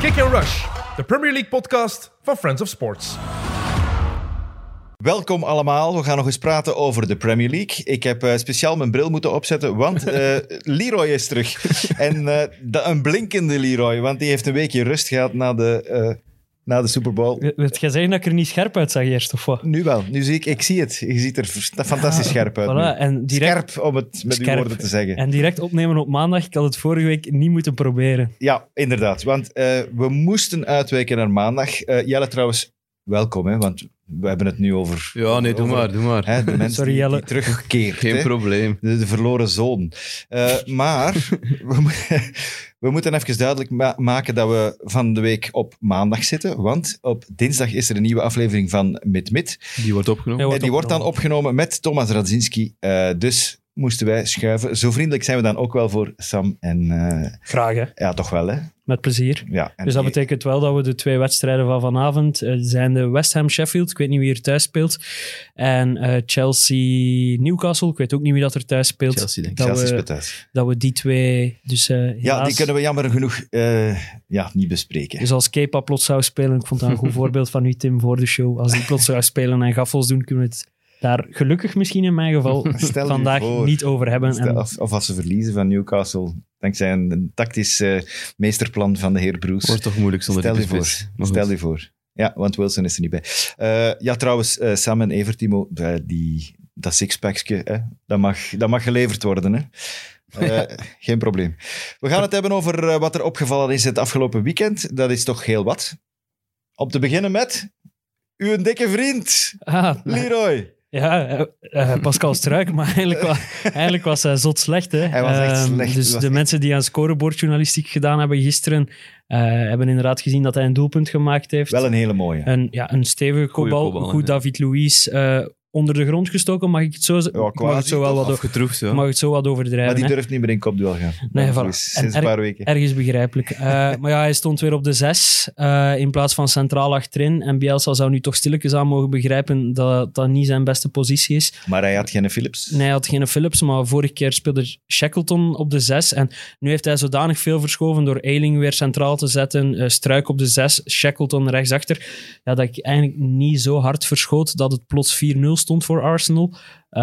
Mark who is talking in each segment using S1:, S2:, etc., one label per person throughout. S1: Kick and Rush, de Premier League podcast van Friends of Sports.
S2: Welkom allemaal. We gaan nog eens praten over de Premier League. Ik heb eh, speciaal mijn bril moeten opzetten, want eh, Leroy is terug. En eh, de, een blinkende Leroy, want die heeft een weekje rust gehad na de, eh, na de Super Bowl.
S3: Wilt jij zeggen dat ik er niet scherp uitzag eerst, of wat?
S2: Nu wel. Nu zie ik, ik zie het. Je ziet er f- fantastisch scherp uit. nu.
S3: Voilà, en direct,
S2: Scherp, om het met uw
S3: Scherp.
S2: woorden te zeggen.
S3: en direct opnemen op maandag. Ik had het vorige week niet moeten proberen.
S2: Ja, inderdaad. Want eh, we moesten uitwijken naar maandag. Eh, Jelle, trouwens, welkom, hè, want we hebben het nu over.
S4: Ja, nee, doe
S2: over,
S4: maar, doe maar.
S2: Hè, de mensen
S3: Sorry,
S2: die,
S3: Jelle.
S2: die terugkeert.
S4: Geen
S2: hè.
S4: probleem.
S2: De, de verloren zoon. Eh, maar we, mo- we moeten even duidelijk ma- maken dat we van de week op maandag zitten. Want op dinsdag is er een nieuwe aflevering van Mit Mit.
S4: Die wordt opgenomen.
S2: en die wordt dan opgenomen met Thomas Radzinski. Eh, dus moesten wij schuiven. Zo vriendelijk zijn we dan ook wel voor Sam en... eh,
S3: Graag, hè?
S2: ja, toch wel, hè?
S3: Met plezier.
S2: Ja, en
S3: Dus dat
S2: die-
S3: betekent wel dat we de twee wedstrijden van vanavond eh, zijn de West Ham Sheffield, ik weet niet wie er thuis speelt, en eh, Chelsea Newcastle, ik weet ook niet wie dat er thuis speelt.
S4: Chelsea, denk ik.
S3: dat,
S2: Chelsea
S3: we,
S2: speelt thuis.
S3: dat we die twee, dus eh,
S2: Ja,
S3: helaas-
S2: die kunnen we jammer genoeg eh, ja, niet bespreken.
S3: Dus als Kepa plots zou spelen, ik vond dat een goed voorbeeld van u, Tim, voor de show. Als die plots zou spelen en gaffels doen, kunnen we het daar gelukkig misschien in mijn geval
S2: Stel u
S3: vandaag
S2: voor.
S3: niet over hebben. En
S2: Of, of als ze verliezen van Newcastle, dankzij een, een tactisch eh, meesterplan van de heer Bruce.
S4: Wordt toch moeilijk zonder
S2: Stel
S4: die
S2: je voor.
S4: spits. Maar goed.
S2: Stel je voor. Ja, want Wilson is er niet bij. Eh, ja, trouwens, eh, Sam en Evert, Timo, eh, die, dat sixpackje, hè, dat, mag, dat mag geleverd worden. Hè. Eh, Geen probleem. We gaan het hebben over eh, wat er opgevallen is het afgelopen weekend. Dat is toch heel wat. Om te beginnen met uw dikke vriend,
S3: Ah,
S2: Leroy.
S3: ja, eh, eh, Pascal Struik, maar eigenlijk, wa- eigenlijk was hij zot slecht. Hè.
S2: Hij was echt
S3: Ehm,
S2: slecht.
S3: Dus
S2: Hij was
S3: de
S2: echt-
S3: mensen die aan scorebordjournalistiek gedaan hebben gisteren, eh, hebben inderdaad gezien dat hij een doelpunt gemaakt heeft.
S2: Wel een hele mooie.
S3: Een, ja, een stevige
S4: Goeie
S3: kopbal,
S4: kopbal, hè,
S3: goed
S4: ja.
S3: David Luiz eh, onder de grond gestoken. Mag ik het zo,
S2: Ja,
S3: mag het zo wel
S2: quasi,
S3: wat, o-
S4: Afgetroefd, ja.
S3: mag ik het zo wat overdrijven?
S2: maar die
S3: hè?
S2: durft niet meer in kopduel gaan.
S3: Nee,
S2: Dat
S3: voilà.
S2: is
S3: En
S2: Sinds een
S3: er-
S2: paar weken.
S3: Ergens begrijpelijk. Eh, maar ja, hij stond weer op de zes eh, in plaats van centraal achterin. En Bielsa zou nu toch stilletjes aan mogen begrijpen dat dat niet zijn beste positie is.
S2: Maar hij had geen Philips.
S3: Nee, hij had geen Philips, maar vorige keer speelde Shackleton op de zes. En nu heeft hij zodanig veel verschoven door Eiling weer centraal te zetten. eh, Struik op de zes, Shackleton rechtsachter. Ja, dat ik eigenlijk niet zo hard verschoot dat het plots 4-0 stond voor Arsenal. Eh,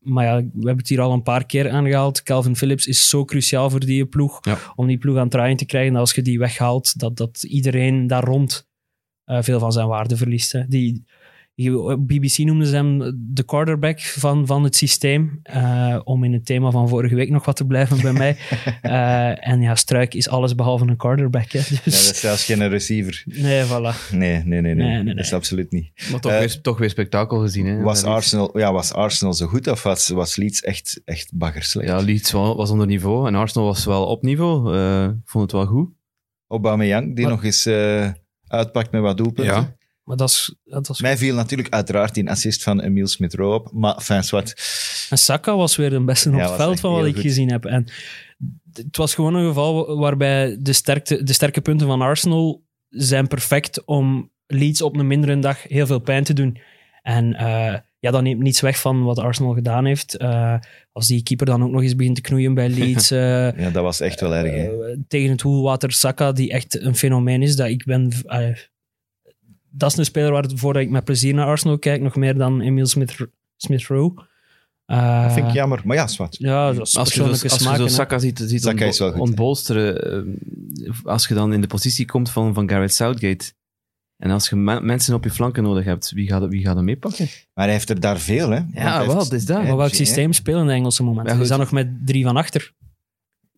S3: maar ja, we hebben het hier al een paar keer aangehaald. Calvin Phillips is zo cruciaal voor die ploeg.
S4: Ja.
S3: Om die ploeg aan het draaien te krijgen. Dat als je die weghaalt, dat, dat iedereen daar rond eh, veel van zijn waarde verliest. Hè. Die, die- BBC noemde ze hem de quarterback van, van het systeem. eh, om in het thema van vorige week nog wat te blijven bij mij. Eh, en ja, Struik is alles behalve een quarterback. Hè,
S2: Ja,
S3: dus...
S2: dat is zelfs geen receiver.
S3: Nee, voilà.
S2: Nee, nee, nee, nee.
S3: Nee, nee, nee.
S2: Dat is absoluut niet.
S4: Maar toch,
S2: Eh,
S4: weer, toch weer spektakel gezien,
S2: Was
S4: hè. Bij Leeds.
S2: Arsenal, ja, was Arsenal zo goed of was, was Leeds echt, echt baggerslecht?
S4: Ja, Leeds wa- was onder niveau en Arsenal was wel op niveau. Eh, ik vond het wel goed.
S2: Aubameyang, die
S3: Maar-
S2: nog eens eh, uitpakt met wat doelpunten.
S4: Ja.
S3: Maar dat is, dat is...
S2: Mij viel natuurlijk uiteraard die assist van Emile Smith-Rowe op, maar fijn, wat.
S3: En Saka was weer de beste op
S2: Ja,
S3: het
S2: was
S3: veld
S2: echt
S3: van wat
S2: heel
S3: ik
S2: goed.
S3: gezien heb. En d- het was gewoon een geval wa- waarbij de, sterkte, de sterke punten van Arsenal zijn perfect om Leeds op een mindere dag heel veel pijn te doen. En eh, ja, dat neemt niets weg van wat Arsenal gedaan heeft. Eh, als die keeper dan ook nog eens begint te knoeien bij Leeds. eh,
S2: Ja, dat was echt wel erg, hè.
S3: eh, tegen het hoelwater Saka, die echt een fenomeen is. Dat ik ben... eh, dat is een speler waarvoor ik met plezier naar Arsenal kijk. Nog meer dan Emile Smith- Smith-Rowe. Eh,
S2: Dat vind ik jammer, maar ja, zwart.
S3: ja, dat is
S4: Als je
S3: persoonlijke
S4: zo, als je
S3: smaak.
S4: zo Saka ziet, ziet
S2: Saka
S4: ontbo-
S2: is wel goed, hè.
S4: ontbolsteren, eh, als je dan in de positie komt van, van Gareth Southgate, en als je me- mensen op je flanken nodig hebt, wie gaat, wie gaat hem meepakken?
S2: Maar hij heeft er daar veel, hè. Want hij
S4: wel,
S2: heeft-
S4: dat is dat.
S2: hij
S3: maar welk
S2: heeft-
S3: systeem spelen de Engelse
S4: Ja,
S3: momenten?
S4: goed.
S3: is dat nog met drie van achter?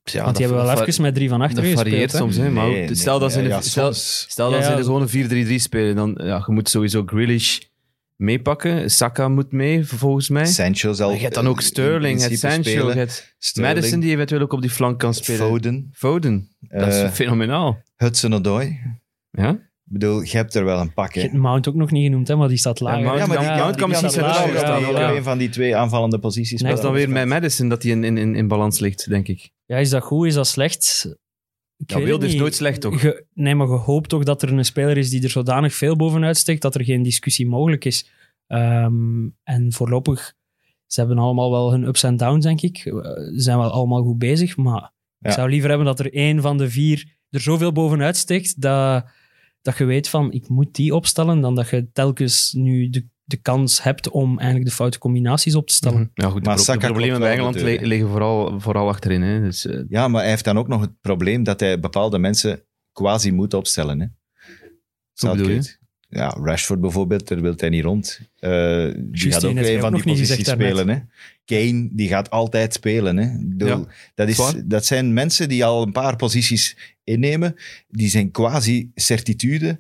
S4: Ja,
S3: Want die hebben wel even met drie van achter
S4: Dat
S3: gespeeld.
S4: varieert
S3: hè?
S4: soms, hè. Maar
S2: Nee,
S4: ook- stel dat ze in de,
S2: nee, ja,
S4: stel,
S2: soms.
S4: Stel dat
S3: Ja, ja.
S4: ze gewoon een 4-3-3 spelen, dan ja, je moet sowieso Grealish meepakken. Saka moet mee, volgens mij.
S2: Sancho zal...
S4: Maar je hebt dan ook
S2: eh, in
S4: Sterling, het
S2: principe
S4: Sancho,
S2: spelen.
S4: je hebt
S2: Sterling,
S4: Madison die eventueel ook op die flank kan spelen.
S2: Foden,
S4: Foden. dat is
S2: eh,
S4: fenomenaal.
S2: Hudson-Odoi.
S4: Ja?
S2: Ik bedoel, je hebt er wel een pak,
S3: Je
S2: hè.
S3: hebt Mount ook nog niet genoemd, hè, maar die staat lager.
S4: Ja, Mount-
S2: Ja, maar die,
S4: Ja,
S2: kan,
S4: Mount
S2: die
S4: kan dus
S2: kan
S4: misschien
S2: centraal
S4: centraal
S2: staan.
S4: staan,
S2: ook
S4: ja.
S2: een van die twee aanvallende posities.
S3: Nee,
S4: Dat is dan weer
S2: mijn
S4: met Madison dat hij in, in, in, in balans ligt, denk ik.
S3: Ja, is dat goed? Is dat slecht? Ik
S4: Ja,
S3: weet
S4: Wilde
S3: het
S4: is
S3: niet.
S4: nooit slecht, toch?
S3: Je- nee, maar je hoopt toch dat er een speler is die er zodanig veel bovenuit steekt dat er geen discussie mogelijk is. Ehm, en voorlopig, ze hebben allemaal wel hun ups en downs, denk ik. Eh, Ze zijn wel allemaal goed bezig, maar
S2: Ja.
S3: ik zou liever hebben dat er één van de vier er zoveel bovenuit steekt dat, dat je weet van ik moet die opstellen, dan dat je telkens nu de, de kans hebt om eigenlijk de foute combinaties op te stellen.
S4: Ja, goed, de,
S2: Maar
S4: pro- de
S2: Saka
S4: problemen
S2: klopt wel
S4: bij Engeland
S2: natuurlijk,
S4: li-
S2: hè.
S4: liggen vooral, vooral achterin. Hè. Dus, eh,
S2: Ja, maar hij heeft dan ook nog het probleem dat hij bepaalde mensen quasi moet opstellen. Hè?
S4: Hoe bedoel je?
S2: Southgate. Ja, Rashford bijvoorbeeld, daar wil hij niet rond. Eh, die
S3: die
S2: gaat ook
S3: net,
S2: een
S3: ook
S2: van die
S3: nog niet
S2: posities
S3: gezegd daarnet.
S2: spelen. Hè? Kane, die gaat altijd spelen. Hè? Ik bedoel,
S4: Ja,
S2: dat, is,
S4: zwaar.
S2: dat zijn mensen die al een paar posities innemen. Die zijn quasi certitude.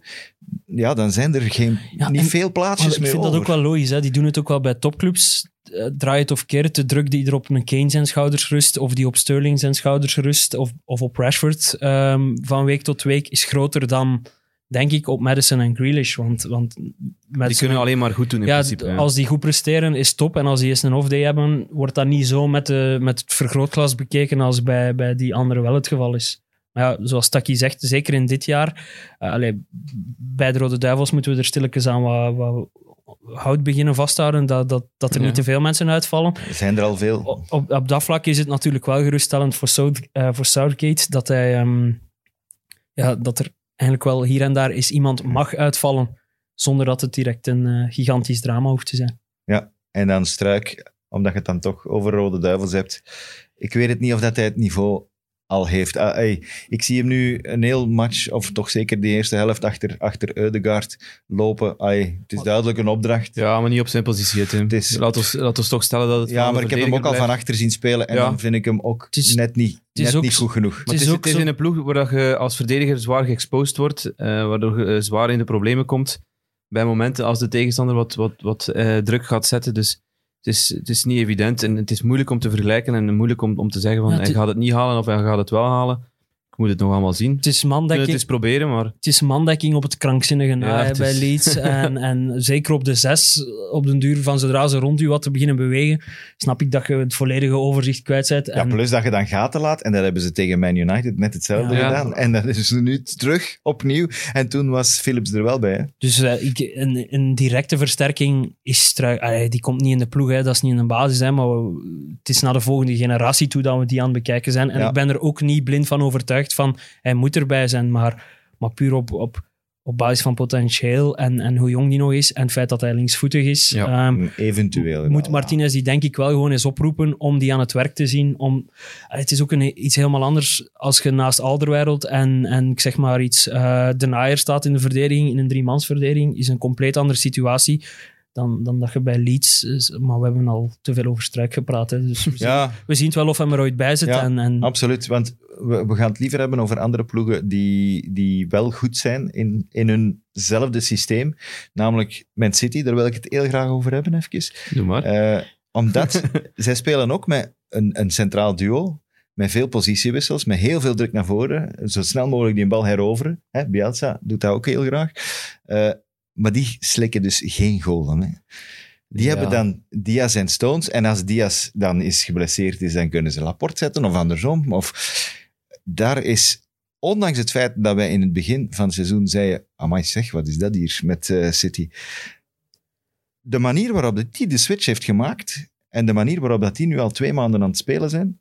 S2: Ja, dan zijn er geen,
S3: Ja,
S2: niet
S3: en-
S2: veel
S3: Maar
S2: plaatsjes
S3: ik
S2: meer
S3: vind
S2: over.
S3: dat ook wel logisch. Hè? Die doen het ook wel bij topclubs. Eh, Draai het of keer het, de druk die er op een Kane zijn schouders rust, of die op Sterling zijn schouders rust, of, of op Rashford ehm, van week tot week, is groter dan, denk ik, op Madison en Grealish. Want, want
S4: die
S3: Maddison-
S4: kunnen alleen maar goed doen in
S3: ja,
S4: principe.
S3: d-
S4: hè.
S3: als die goed presteren, is top. En als die eens een off-day hebben, wordt dat niet zo met, de, met het vergrootglas bekeken als bij, bij die andere wel het geval is. Maar ja, zoals Taki zegt, zeker in dit jaar, eh, allee, bij de Rode Duivels moeten we er stilletjes aan wat, wat hout beginnen vasthouden, dat, dat, dat er
S4: Ja.
S3: niet te veel mensen uitvallen.
S2: Er zijn er al veel.
S3: O- Op, op dat vlak is het natuurlijk wel geruststellend voor, South, eh, voor Southgate dat hij... ehm, ja, dat er eigenlijk wel hier en daar eens iemand mag uitvallen, zonder dat het direct een eh, gigantisch drama hoeft te zijn.
S2: En dan Struik, omdat je het dan toch over Rode Duivels hebt. Ik weet het niet of dat hij het niveau al heeft. Ah, ey, ik zie hem nu een heel match, of toch zeker die eerste helft, achter, achter Eudegaard lopen. Ey, het is duidelijk een opdracht. Ja,
S4: Ja, maar niet op zijn positie, hè, Tim.
S2: Het is-
S4: Laat ons, laat ons toch stellen dat het van de
S2: maar ik heb hem ook al
S4: verdediger
S2: van
S4: blijft.
S2: achter zien spelen en
S4: Ja.
S2: dan vind ik hem ook
S3: Het is-
S2: net niet,
S3: is
S2: net
S3: ook
S2: niet
S3: zo-
S2: goed genoeg.
S4: Maar het is,
S3: is ook
S4: het is
S3: zo-
S4: in een ploeg waar dat je als verdediger zwaar geëxposed wordt, eh, waardoor je eh, zwaar in de problemen komt bij momenten als de tegenstander wat, wat, wat eh, druk gaat zetten. Dus het is, het is niet evident en het is moeilijk om te vergelijken en moeilijk om, om te zeggen van
S3: Ja, het
S4: hij
S3: is-
S4: gaat het niet halen of hij gaat het wel halen. Ik moet het nog allemaal zien.
S3: Het is,
S4: We kunnen
S3: mandekking,
S4: het eens proberen, maar
S3: het is mandekking op het krankzinnige na
S4: Ja,
S3: hè,
S4: het
S3: bij
S4: is-
S3: Leeds. en, en zeker op de zes, op den duur van zodra ze rond u wat te beginnen bewegen, snap ik dat je het volledige overzicht kwijt bent.
S2: Ja,
S3: En
S2: plus dat je dan gaten laat. En dat hebben ze tegen Man United net hetzelfde
S4: Ja.
S2: gedaan. En dat is nu terug, opnieuw. En toen was Philips er wel bij. Hè?
S3: dus eh, ik, een, een directe versterking is Struik- allee, die komt niet in de ploeg, hè, dat is niet in de basis. Hè, maar we- het is naar de volgende generatie toe dat we die aan het bekijken zijn. En
S2: Ja.
S3: ik ben er ook niet blind van overtuigd van hij moet erbij zijn, maar, maar puur op, op, op basis van potentieel en, en hoe jong die nog is en het feit dat hij linksvoetig is.
S4: Ja.
S3: Ehm,
S2: Eventueel.
S3: moet
S2: inderdaad.
S3: Martinez die denk ik wel gewoon eens oproepen om die aan het werk te zien. Om, Allee, het is ook een, iets helemaal anders als je naast Alderwereld en, en ik zeg maar iets, eh de naaier staat in de verdediging, in een driemansverdediging, is een compleet andere situatie dan, dan dat je bij Leeds... is. Maar we hebben al te veel over Struik gepraat, hè, dus we, zien,
S2: Ja,
S3: we zien het wel of hem er ooit bij zit.
S2: Ja,
S3: en, en,
S2: Absoluut, want we, we gaan het liever hebben over andere ploegen die, die wel goed zijn in, in hunzelfde systeem. Namelijk Man City, daar wil ik het heel graag over hebben, even.
S4: doe maar.
S2: Eh, omdat zij spelen ook met een, een centraal duo, met veel positiewissels, met heel veel druk naar voren. Zo snel mogelijk die bal heroveren. Hè, Bielsa doet dat ook heel graag. Eh, maar die slikken dus geen golen. Hè. Die
S4: Ja.
S2: hebben dan Diaz en Stones. En als Diaz dan is geblesseerd is, dan kunnen ze Laporte zetten of andersom. Of... Daar is, ondanks het feit dat wij in het begin van het seizoen zeiden... Amai zeg, wat is dat hier met eh, City? De manier waarop dat die de switch heeft gemaakt en de manier waarop dat die nu al twee maanden aan het spelen zijn,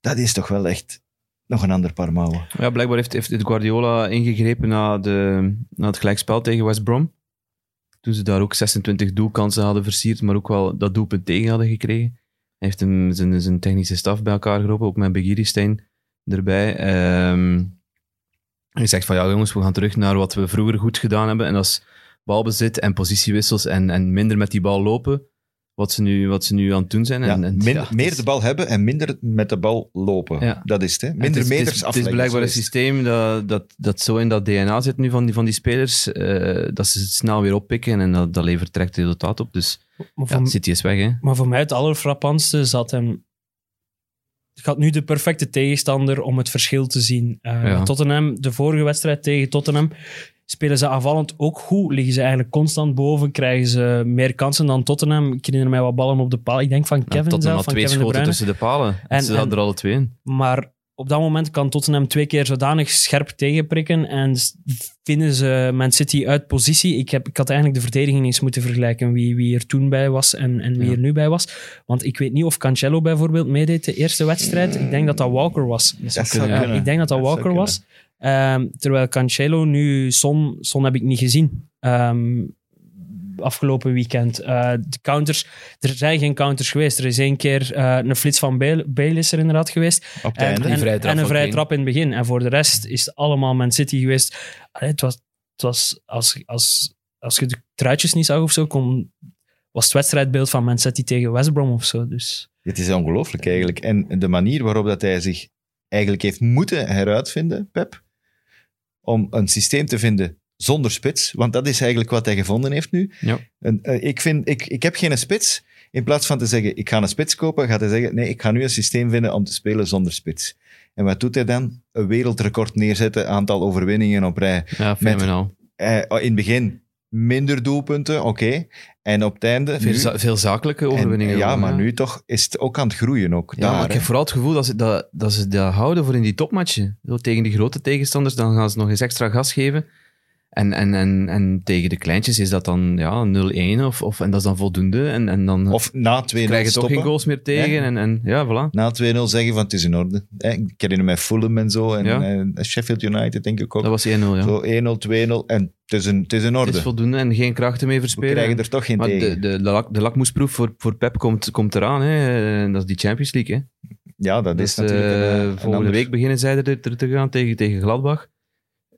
S2: dat is toch wel echt nog een ander paar mouwen.
S4: Ja, blijkbaar heeft, heeft het Guardiola ingegrepen na, de, na het gelijkspel tegen West Brom. Toen ze daar ook 26 doelkansen hadden versierd, maar ook wel dat doelpunt tegen hadden gekregen. Hij heeft hem, zijn, zijn technische staf bij elkaar geroepen, ook met Begiristein erbij. Ehm hij zegt van, ja jongens, we gaan terug naar wat we vroeger goed gedaan hebben. En dat is balbezit en positiewissels en, en minder met die bal lopen. Wat ze nu, wat ze nu aan het doen zijn.
S2: Ja,
S4: en, en,
S2: min-
S4: ja, het
S2: meer
S4: is-
S2: de bal hebben en minder met de bal lopen.
S4: Ja.
S2: Dat is het. Hè?
S4: het
S2: Minder
S4: is-
S2: meters
S4: het is, het is
S2: afleggen.
S4: blijkbaar een
S2: Zo is het.
S4: systeem dat, dat, dat zo in dat DNA zit nu van die, van die spelers, eh, dat ze het snel weer oppikken en dat, dat levert direct resultaat op. Dus
S3: maar
S4: ja,
S3: voor-
S4: City is weg, hè.
S3: Maar voor mij het allerfrappantste zat hem... Ik had nu de perfecte tegenstander om het verschil te zien. Eh,
S4: Ja.
S3: Tottenham, de vorige wedstrijd tegen Tottenham, spelen ze aanvallend ook goed. Liggen ze eigenlijk constant boven, krijgen ze meer kansen dan Tottenham. Ik herinner mij wat ballen op de paal. Ik denk van
S4: Ja,
S3: Kevin
S4: Tottenham
S3: zelf,
S4: had
S3: van
S4: twee
S3: Kevin De
S4: schoten
S3: Bruyne.
S4: tussen de palen. En,
S3: En-
S4: ze hadden
S3: en-
S4: er alle twee in.
S3: Maar op dat moment kan Tottenham twee keer zodanig scherp tegenprikken en s- vinden ze Man City uit positie. Ik, heb, ik had eigenlijk de verdediging eens moeten vergelijken wie, wie er toen bij was en, en wie
S4: Ja.
S3: er nu bij was. Want ik weet niet of Cancelo bijvoorbeeld meedeed de eerste wedstrijd. Ik denk dat dat Walker was.
S2: Dat zou
S4: kunnen.
S2: kunnen.
S3: Ik denk dat dat
S2: Dat zou
S3: Walker was. Ehm, terwijl Cancelo nu, Son, Son heb ik niet gezien. Ehm, afgelopen weekend. Eh, de counters, er zijn geen counters geweest. Er is één keer eh, een flits van Bale, Bale is er inderdaad geweest.
S2: Op het
S3: En,
S2: einde.
S3: en-
S4: Die vrije trap
S3: en een
S4: van
S3: vrije
S4: Kane.
S3: trap in het begin. En voor de rest is het allemaal Man City geweest. Allee, het was, het was als, als, als je de truitjes niet zag of zo, kon, was het wedstrijdbeeld van Man City tegen West Brom of zo. Dus
S2: Het is ongelooflijk eigenlijk. En de manier waarop dat hij zich eigenlijk heeft moeten heruitvinden, Pep, om een systeem te vinden zonder spits, want dat is eigenlijk wat hij gevonden heeft nu.
S4: Ja.
S2: En, eh, ik, vind, ik, ik heb geen spits. In plaats van te zeggen, ik ga een spits kopen, gaat hij zeggen, nee, ik ga nu een systeem vinden om te spelen zonder spits. En wat doet hij dan? Een wereldrecord neerzetten, aantal overwinningen op rij.
S4: Ja, fenomenaal.
S2: Eh, in het begin minder doelpunten, oké. En op het einde...
S4: Veel,
S2: nu-
S4: za- veel zakelijke
S2: en-
S4: overwinningen.
S2: ja,
S4: gewoon,
S2: maar
S4: hè.
S2: nu toch is het ook aan het groeien. Ook,
S4: Ja,
S2: daar,
S4: maar
S2: hè.
S4: ik heb vooral het gevoel dat ze dat, dat, ze dat houden voor in die topmatchen. Zo, tegen die grote tegenstanders, dan gaan ze nog eens extra gas geven. En, en, en, en tegen de kleintjes is dat dan ja, 0-1 of, of, en dat is dan voldoende. En, en dan
S2: Of na 2-0
S4: krijg je toch
S2: stoppen.
S4: geen goals meer tegen.
S2: Ja.
S4: En, en ja, voilà.
S2: Na 2-0 zeggen van het is in orde. Hè, Ik herinner mij Fulham en zo. En,
S4: Ja.
S2: en Sheffield United denk ik ook.
S4: Dat was 1-0, ja.
S2: Zo 1-0, 2-0 en het is in, het is in
S4: Het is
S2: orde.
S4: voldoende en geen krachten meer
S2: We
S4: verspelen.
S2: krijgen er toch geen
S4: maar
S2: tegen.
S4: de, de, de, lak, de lakmoesproef voor, voor Pep komt, komt eraan. Hè. En Dat is die Champions League. Hè.
S2: ja, dat is
S4: Dus,
S2: natuurlijk
S4: eh,
S2: een, een
S4: volgende
S2: ander-
S4: week beginnen zij er, er te gaan tegen, tegen Gladbach.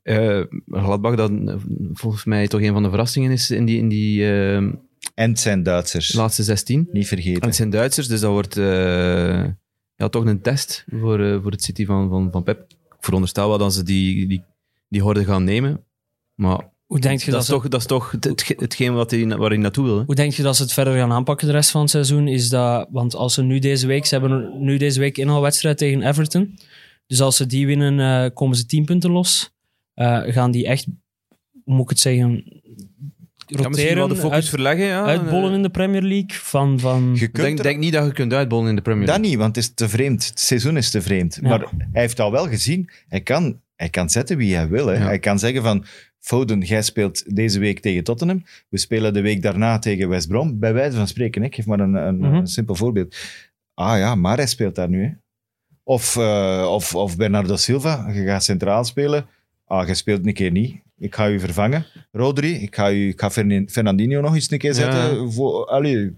S4: Eh, Gladbach, dat eh, volgens mij toch een van de verrassingen is in die, in die eh,
S2: En het zijn Duitsers.
S4: laatste 16.
S2: Niet
S4: En
S2: vergeten.
S4: het zijn Duitsers, dus dat wordt eh, ja, toch een test voor, eh, voor het City van, van, van Pep. Ik veronderstel wel dat ze die, die, die horde gaan nemen. Maar
S3: hoe denk je
S4: dat,
S3: dat,
S4: is
S3: ze-
S4: toch, dat is toch het- het, hetgeen wat hij, waar hij naartoe wil. Hè?
S3: Hoe denk je dat ze het verder gaan aanpakken de rest van het seizoen? Is dat, want als ze nu deze week, ze hebben nu deze week inhaalwedstrijd tegen Everton. Dus als ze die winnen, eh, komen ze 10 punten los. Eh, gaan die echt, hoe moet ik het zeggen,
S4: Ja, misschien wel
S3: roteren,
S4: de focus eh.
S3: uit-
S4: verleggen. Ja.
S3: uitbollen in de Premier League? Van, van...
S2: Je
S4: Ik denk,
S2: kunt er-
S4: denk niet dat je kunt uitbollen in de Premier
S2: dat
S4: League.
S2: niet, want het is te vreemd. Het seizoen is te vreemd.
S3: Ja.
S2: Maar hij heeft al wel gezien. Hij kan, hij kan zetten wie hij wil. Hè.
S4: Ja.
S2: Hij kan zeggen van... Foden, jij speelt deze week tegen Tottenham. We spelen de week daarna tegen West Brom. Bij wijze van spreken, hè. ik geef maar een, een,
S3: Mhm.
S2: een simpel voorbeeld. Ah ja, maar hij speelt daar nu. Hè. Of, eh, of, of Bernardo Silva, je gaat centraal spelen. Ah, je speelt een keer niet. Ik ga u vervangen. Rodri, ik ga, u, ik ga Fernin- Fernandinho nog eens een keer zetten.
S4: Ja.
S2: Voor, allee,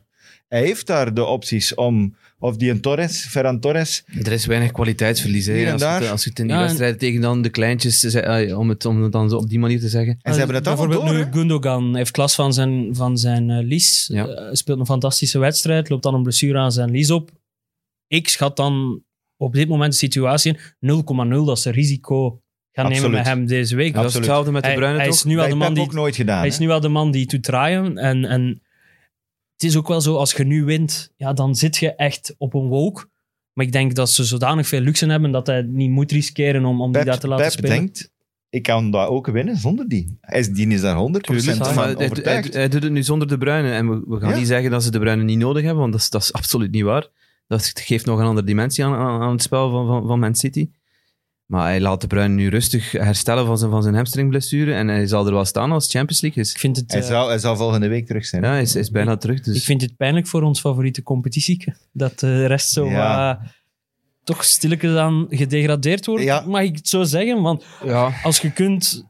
S2: hij heeft daar de opties om... Of die een Torres, Ferran Torres...
S4: Er is weinig kwaliteitsverlies.
S2: Hier en
S4: Hè, als,
S2: daar.
S4: Het, als je het in die
S3: Ja, en-
S4: wedstrijden tegen dan de kleintjes, ze- eh, om, het, om het dan zo op die manier te zeggen.
S2: En ze hebben het allemaal
S3: Bijvoorbeeld
S2: door,
S3: nu
S2: hè?
S3: Gundogan heeft klas van zijn, van zijn eh, lies.
S4: Ja.
S3: Eh, speelt een fantastische wedstrijd. Loopt dan een blessure aan zijn lies op. Ik schat dan op dit moment de situatie in 0,0 dat ze risico gaan nemen
S2: Absoluut.
S3: met hem deze week.
S4: Dat is
S2: Absoluut.
S4: hetzelfde met de
S3: Hij,
S4: Bruyne
S3: hij
S4: toch?
S3: is nu wel
S2: Dat
S3: de
S2: heeft
S3: man
S2: Pep
S3: die,
S2: ook nooit gedaan.
S3: hij
S2: hè?
S3: is nu wel de man die to tryen. En, en het is ook wel zo, als je nu wint, ja, dan zit je echt op een wolk. Maar ik denk dat ze zodanig veel luxe hebben dat hij niet moet riskeren om, om die
S2: Pep,
S3: daar te laten
S2: Pep
S3: spelen.
S2: denkt, ik kan dat ook winnen zonder die. Hij is, die is daar 100%
S4: Ja,
S2: van
S4: maar hij, hij,
S2: overtuigd.
S4: hij doet het nu zonder de Bruyne. En we, we gaan
S2: Ja.
S4: niet zeggen dat ze de Bruyne niet nodig hebben, want dat is, dat is absoluut niet waar. Dat geeft nog een andere dimensie aan, aan, aan het spel van, van, van Man City. Maar hij laat de Bruyne nu rustig herstellen van zijn, van zijn hamstringblessure. En hij zal er wel staan als het Champions League is.
S3: Ik vind het,
S2: Hij,
S3: eh,
S2: zal, hij zal volgende week terug zijn.
S4: Ja, hij is, hij is bijna terug. Dus.
S3: Ik vind het pijnlijk voor ons favoriete competitie. Dat de rest zo
S2: Ja.
S3: eh, toch stilletjes aan gedegradeerd wordt.
S2: Ja.
S3: Mag ik het zo zeggen? Want
S4: ja.
S3: als je, kunt,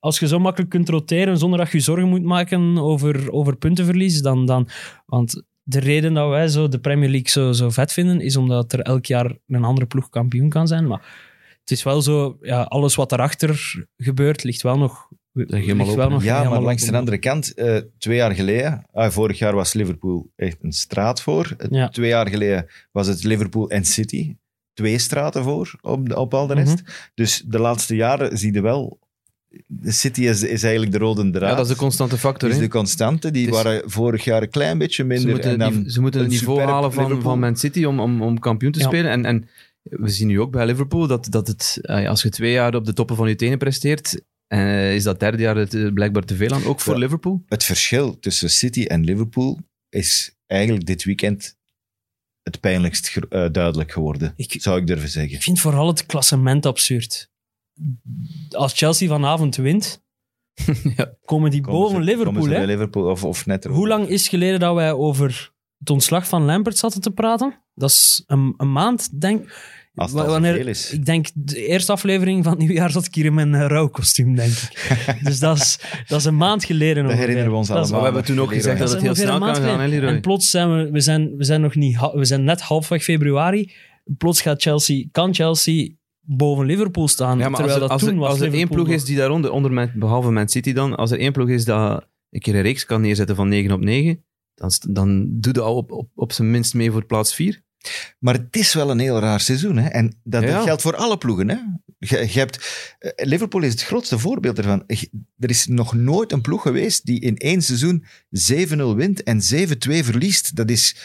S3: als je zo makkelijk kunt roteren zonder dat je zorgen moet maken over, over puntenverlies, dan, dan... Want de reden dat wij zo de Premier League zo, zo vet vinden, is omdat er elk jaar een andere ploeg kampioen kan zijn. Maar het is wel zo, ja, alles wat erachter gebeurt, ligt wel nog... ligt
S4: helemaal
S3: wel
S4: open.
S3: nog
S2: Ja,
S3: helemaal
S2: maar langs
S3: open.
S2: de andere kant, eh, twee jaar geleden, ah, vorig jaar was Liverpool echt een straat voor. Eh,
S3: Ja.
S2: Twee jaar geleden was het Liverpool en City. Twee straten voor op, de- op al de rest.
S4: Mhm.
S2: Dus de laatste jaren zie je wel, de City is, is eigenlijk de rode draad.
S4: ja, dat is de constante factor.
S2: is
S4: hè.
S2: de constante. Die
S4: Het is-
S2: waren vorig jaar een klein beetje
S4: Ze
S2: minder.
S4: moeten,
S2: en
S4: het
S2: dan-
S4: nive- ze moeten het
S2: een
S4: niveau
S2: superb
S4: halen van,
S2: Liverpool.
S4: van Man City om, om, om kampioen te
S3: Ja.
S4: spelen. En, en we zien nu ook bij Liverpool dat, dat het, eh, als je twee jaar op de toppen van je tenen presteert, eh, is dat derde jaar het eh, blijkbaar te veel aan. Ook voor
S2: Ja.
S4: Liverpool.
S2: het verschil tussen City en Liverpool is eigenlijk dit weekend het pijnlijkst gro- eh, duidelijk geworden,
S3: Ik-
S2: zou ik durven zeggen.
S3: Ik vind vooral het klassement absurd. Als Chelsea vanavond wint,
S4: Ja.
S3: komen die
S2: Komen
S3: boven
S2: ze-
S3: Liverpool.
S2: komen ze bij
S3: Hè?
S2: Liverpool of, of net erop.
S3: Hoe lang is geleden dat wij over het ontslag van Lampert zaten te praten? Dat is een, een maand, denk
S2: Als het
S3: Wa-
S2: al
S3: wanneer-
S2: veel is.
S3: Ik denk, de eerste aflevering van het nieuwjaar zat ik hier in mijn eh, rouwkostuum, denk ik. dus dat is, dat is een maand geleden.
S2: Dat
S3: ongeveer.
S2: herinneren we ons
S3: Dat is-
S2: allemaal.
S4: Maar we hebben toen ook
S2: Leroy.
S4: gezegd dat het heel
S3: ongeveer
S4: snel
S3: een
S4: kan
S3: maand
S4: gaan, hè,
S3: geleden.
S4: Leroy?
S3: En plots zijn we, we, zijn, we zijn nog niet, ha- we zijn net halfweg februari. Plots gaat Chelsea, kan Chelsea boven Liverpool staan.
S4: Ja, maar als
S3: terwijl
S4: er,
S3: dat
S4: als er-
S3: toen was.
S4: als er één
S3: Liverpool
S4: ploeg
S3: nog-
S4: is die daaronder, onder Man- behalve Man City dan, als er één ploeg is dat een keer een reeks kan neerzetten van 9 op 9, dan, st- dan doe je al op, op, op zijn minst mee voor plaats 4.
S2: Maar het is wel een heel raar seizoen. Hè? En dat, dat
S4: Ja.
S2: geldt voor alle ploegen. Hè? Je, je hebt, eh, Liverpool is het grootste voorbeeld ervan. Je- Er is nog nooit een ploeg geweest die in één seizoen 7-0 wint en 7-2 verliest. Dat is,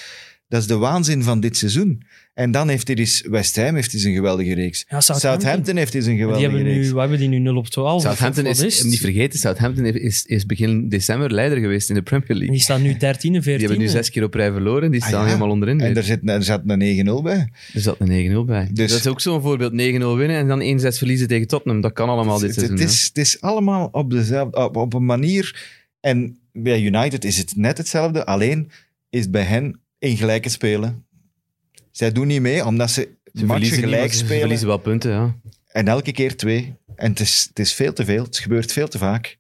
S2: dat is de waanzin van dit seizoen. En dan heeft hij eens West Ham heeft eens een geweldige reeks.
S3: Ja,
S2: Southampton,
S3: Southampton.
S2: heeft eens een
S3: Die
S2: geweldige
S3: hebben nu,
S2: reeks.
S3: wat hebben die nu 0 op 12?
S4: Southampton
S3: Of
S4: is,
S3: wat het?
S4: niet vergeten, Southampton is, is begin december leider geweest in de Premier
S3: En
S4: League.
S3: Die staan nu 13 en 14.
S4: Die hebben nu zes keer op rij verloren, die
S2: Ah,
S4: staan
S2: ja.
S4: helemaal onderin.
S2: En
S4: weer.
S2: er zit, er zat een 9-0 bij.
S4: Er zat een 9-0 bij.
S2: Dus-
S4: Dus dat is ook zo'n voorbeeld. 9-0 winnen en dan 1-6 verliezen tegen Tottenham. Dat kan allemaal dit
S2: Het, het
S4: seizoen. hè.
S2: is, het is allemaal op, dezelfde, op, op een manier. En bij United is het net hetzelfde, alleen is het bij hen in gelijke spelen. Zij doen niet mee, omdat ze,
S4: Ze
S2: matchen
S4: verliezen niet,
S2: gelijk
S4: maar ze- ze
S2: spelen.
S4: verliezen wel punten, ja.
S2: En elke keer twee. En het is, het is veel te veel. Het gebeurt veel te vaak.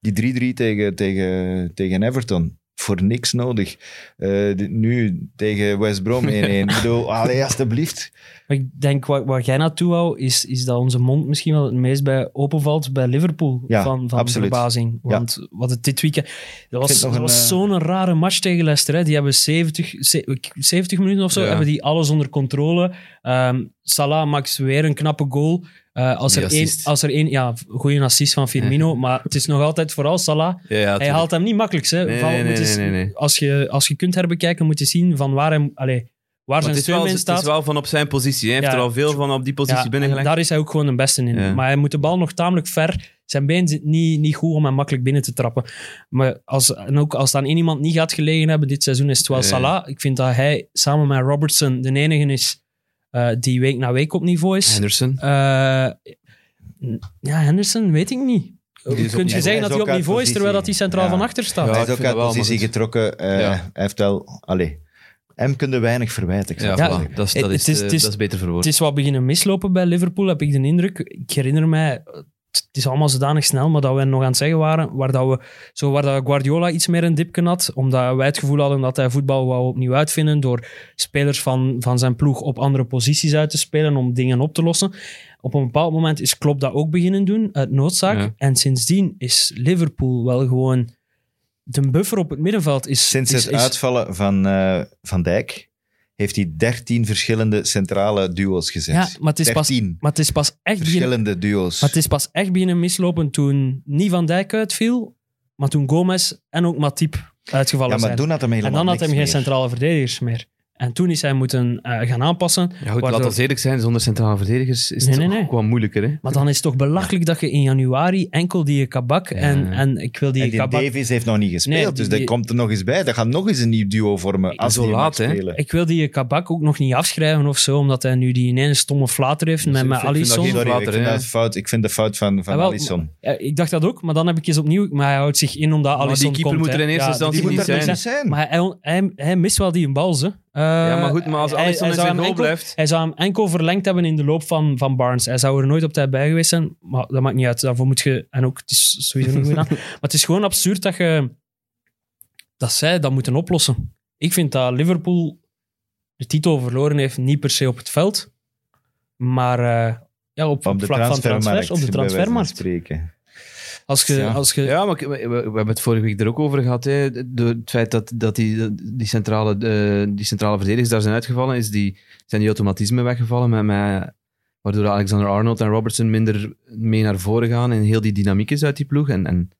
S2: Die 3-3 tegen, tegen, tegen Everton. Voor niks nodig. Eh, dit- nu tegen West Brom 1-1. Ik bedoel, allee, alstublieft.
S3: Maar ik denk, waar, waar jij naartoe wou, is, is dat onze mond misschien wel het meest bij openvalt bij Liverpool.
S2: Ja,
S3: van van
S2: absoluut.
S3: verbazing.
S2: Ja.
S3: Want wat het dit weekend... Dat
S2: vind
S3: was,
S2: het nog
S3: dat
S2: een, eh,
S3: was zo'n rare match tegen Leicester. Hè. Die hebben 70, ze- 70 minuten of zo,
S4: Ja.
S3: hebben die alles onder controle. Ehm, Salah maakt weer een knappe goal. Eh, als,
S4: Die
S3: er één,
S4: assist.
S3: als er één... Ja, goede assist van Firmino. Maar het is nog altijd vooral Salah.
S4: ja, ja
S3: Hij haalt hem niet makkelijk. Hè.
S4: Nee,
S3: Val-
S4: nee,
S3: moet
S4: nee,
S3: eens-
S4: nee, nee.
S3: Als, je, als je kunt herbekijken, moet je zien van waar, hem, allee, waar
S4: Maar
S3: zijn
S4: het, is wel,
S3: steun in
S4: het is
S3: staat.
S4: wel van op zijn positie. Hij heeft
S3: Ja.
S4: er al veel van op die positie
S3: Ja, en
S4: binnengelegd.
S3: daar is hij ook gewoon de beste in.
S4: Ja.
S3: Maar hij moet de bal nog tamelijk ver. Zijn been zit niet, niet goed om hem makkelijk binnen te trappen. Maar als, en ook als dan één iemand niet gaat gelegen hebben dit seizoen, is het wel
S4: Ja.
S3: Salah. Ik vind dat hij samen met Robertson de enige is eh, die week na week op niveau is.
S4: Henderson.
S3: Eh, ja, Henderson weet ik niet.
S4: is ook
S3: Kun
S4: niet-
S3: je
S2: hij
S3: zeggen
S2: is
S3: dat hij
S2: ook
S3: op
S2: uit
S3: niveau is,
S2: positie.
S3: terwijl dat hij centraal
S2: Ja.
S3: van achter staat?
S4: Ja,
S2: hij
S4: ik
S2: is ook
S4: vind
S2: uit
S4: dat wel,
S2: positie
S4: maar goed.
S2: getrokken. Eh,
S4: Ja.
S2: Hij heeft wel... Allee, hem kunnen weinig verwijten. ik zou
S4: Ja,
S3: Ja,
S4: voilà. dat, is, dat,
S3: het
S4: is,
S3: is-
S4: eh,
S3: het is-
S4: dat is beter
S3: Het
S4: verwoord.
S3: is wat beginnen mislopen bij Liverpool, heb ik de indruk. Ik herinner mij, het is allemaal zodanig snel, maar dat we nog aan het zeggen waren, waar, dat we, zo waar dat Guardiola iets meer een dipje had, omdat wij het gevoel hadden dat hij voetbal wou opnieuw uitvinden door spelers van, van zijn ploeg op andere posities uit te spelen om dingen op te lossen. Op een bepaald moment is Klopp dat ook beginnen doen, uit noodzaak.
S4: Ja.
S3: En sindsdien is Liverpool wel gewoon... De buffer op het middenveld is...
S2: Sinds
S3: is,
S2: het
S3: is-
S2: uitvallen van eh, Van Dijk heeft hij 13 verschillende centrale duo's gezet.
S3: Ja, maar het is pas,
S2: 13
S3: maar het is pas echt... beginnen-
S2: verschillende duo's.
S3: Maar het is pas echt beginnen mislopen toen niet Van Dijk uitviel, maar toen Gomez en ook Matip uitgevallen
S2: ja, maar
S3: zijn.
S2: toen had hem helemaal
S3: en dan had
S2: niks
S3: hij geen
S2: meer.
S3: centrale verdedigers meer. En toen is hij moeten eh, gaan aanpassen.
S4: Ja, goed, laat
S3: Waardoor-
S4: ons eerlijk zijn, zonder centrale verdedigers is
S3: Nee,
S4: het
S3: nee,
S4: ook
S3: nee. Eh,
S4: wel moeilijker. Hè?
S3: Maar dan is het toch belachelijk dat je in januari enkel die kabak en,
S4: Ja.
S3: en ik wil die,
S2: En die
S3: kabak...
S2: Davies heeft nog niet gespeeld,
S3: Nee, die-
S2: dus dat
S3: die-
S2: komt er nog eens bij. Dat gaat nog eens een nieuw duo vormen. Als
S4: zo
S2: die mag
S4: laat, hè.
S2: spelen.
S3: Ik wil die kabak ook nog niet afschrijven of zo, omdat hij nu die ineens stomme flater heeft
S4: Dus
S3: met,
S4: ik
S3: met
S4: vind- ik vind dat
S3: Alisson.
S4: geen-
S2: Sorry,
S4: later,
S2: ik, vind
S4: hè.
S2: dat fout. ik vind de fout van, van
S3: Ah, wel,
S2: Alisson.
S3: Ja, ik dacht dat ook, maar dan heb ik eens opnieuw... Maar hij houdt zich in omdat
S4: Maar die
S3: Alisson
S4: keeper
S3: komt,
S4: moet er
S3: hè.
S4: in eerste
S3: Ja,
S4: instantie
S3: die moet
S4: niet
S3: er
S4: zijn.
S3: Maar hij, hij, hij mist wel die een bal, ze. Eh,
S4: ja, maar goed, maar als
S3: hij-
S4: Alisson
S3: hij
S4: in
S3: zou
S4: zijn
S3: hem
S4: goal
S3: enkel-
S4: blijft...
S3: Hij zou hem enkel verlengd hebben in de loop van, van Barnes. Hij zou er nooit op tijd bij geweest zijn, maar dat maakt niet uit. Daarvoor moet je... En ook, het is sowieso niet goed aan. Maar het is gewoon absurd dat, je, dat zij dat moeten oplossen. Ik vind dat Liverpool de titel verloren heeft, niet per se op het veld, maar eh, ja, op,
S2: op
S3: het
S2: de
S3: vlak van transfers,
S2: transfermarkt.
S3: op de
S2: bij wijze van
S3: transfermarkt.
S2: Spreken.
S3: Als je...
S2: Ja.
S3: Als je
S4: Ja, maar ik- we, we- we hebben het vorige week er ook over gehad. Hè. Door het feit dat, dat die, die, centrale, eh, die centrale verdedigers daar zijn uitgevallen, is die, zijn die automatismen weggevallen. Met, met, waardoor Alexander Arnold en Robertson minder mee naar voren gaan. En heel die dynamiek is uit die ploeg. En, en,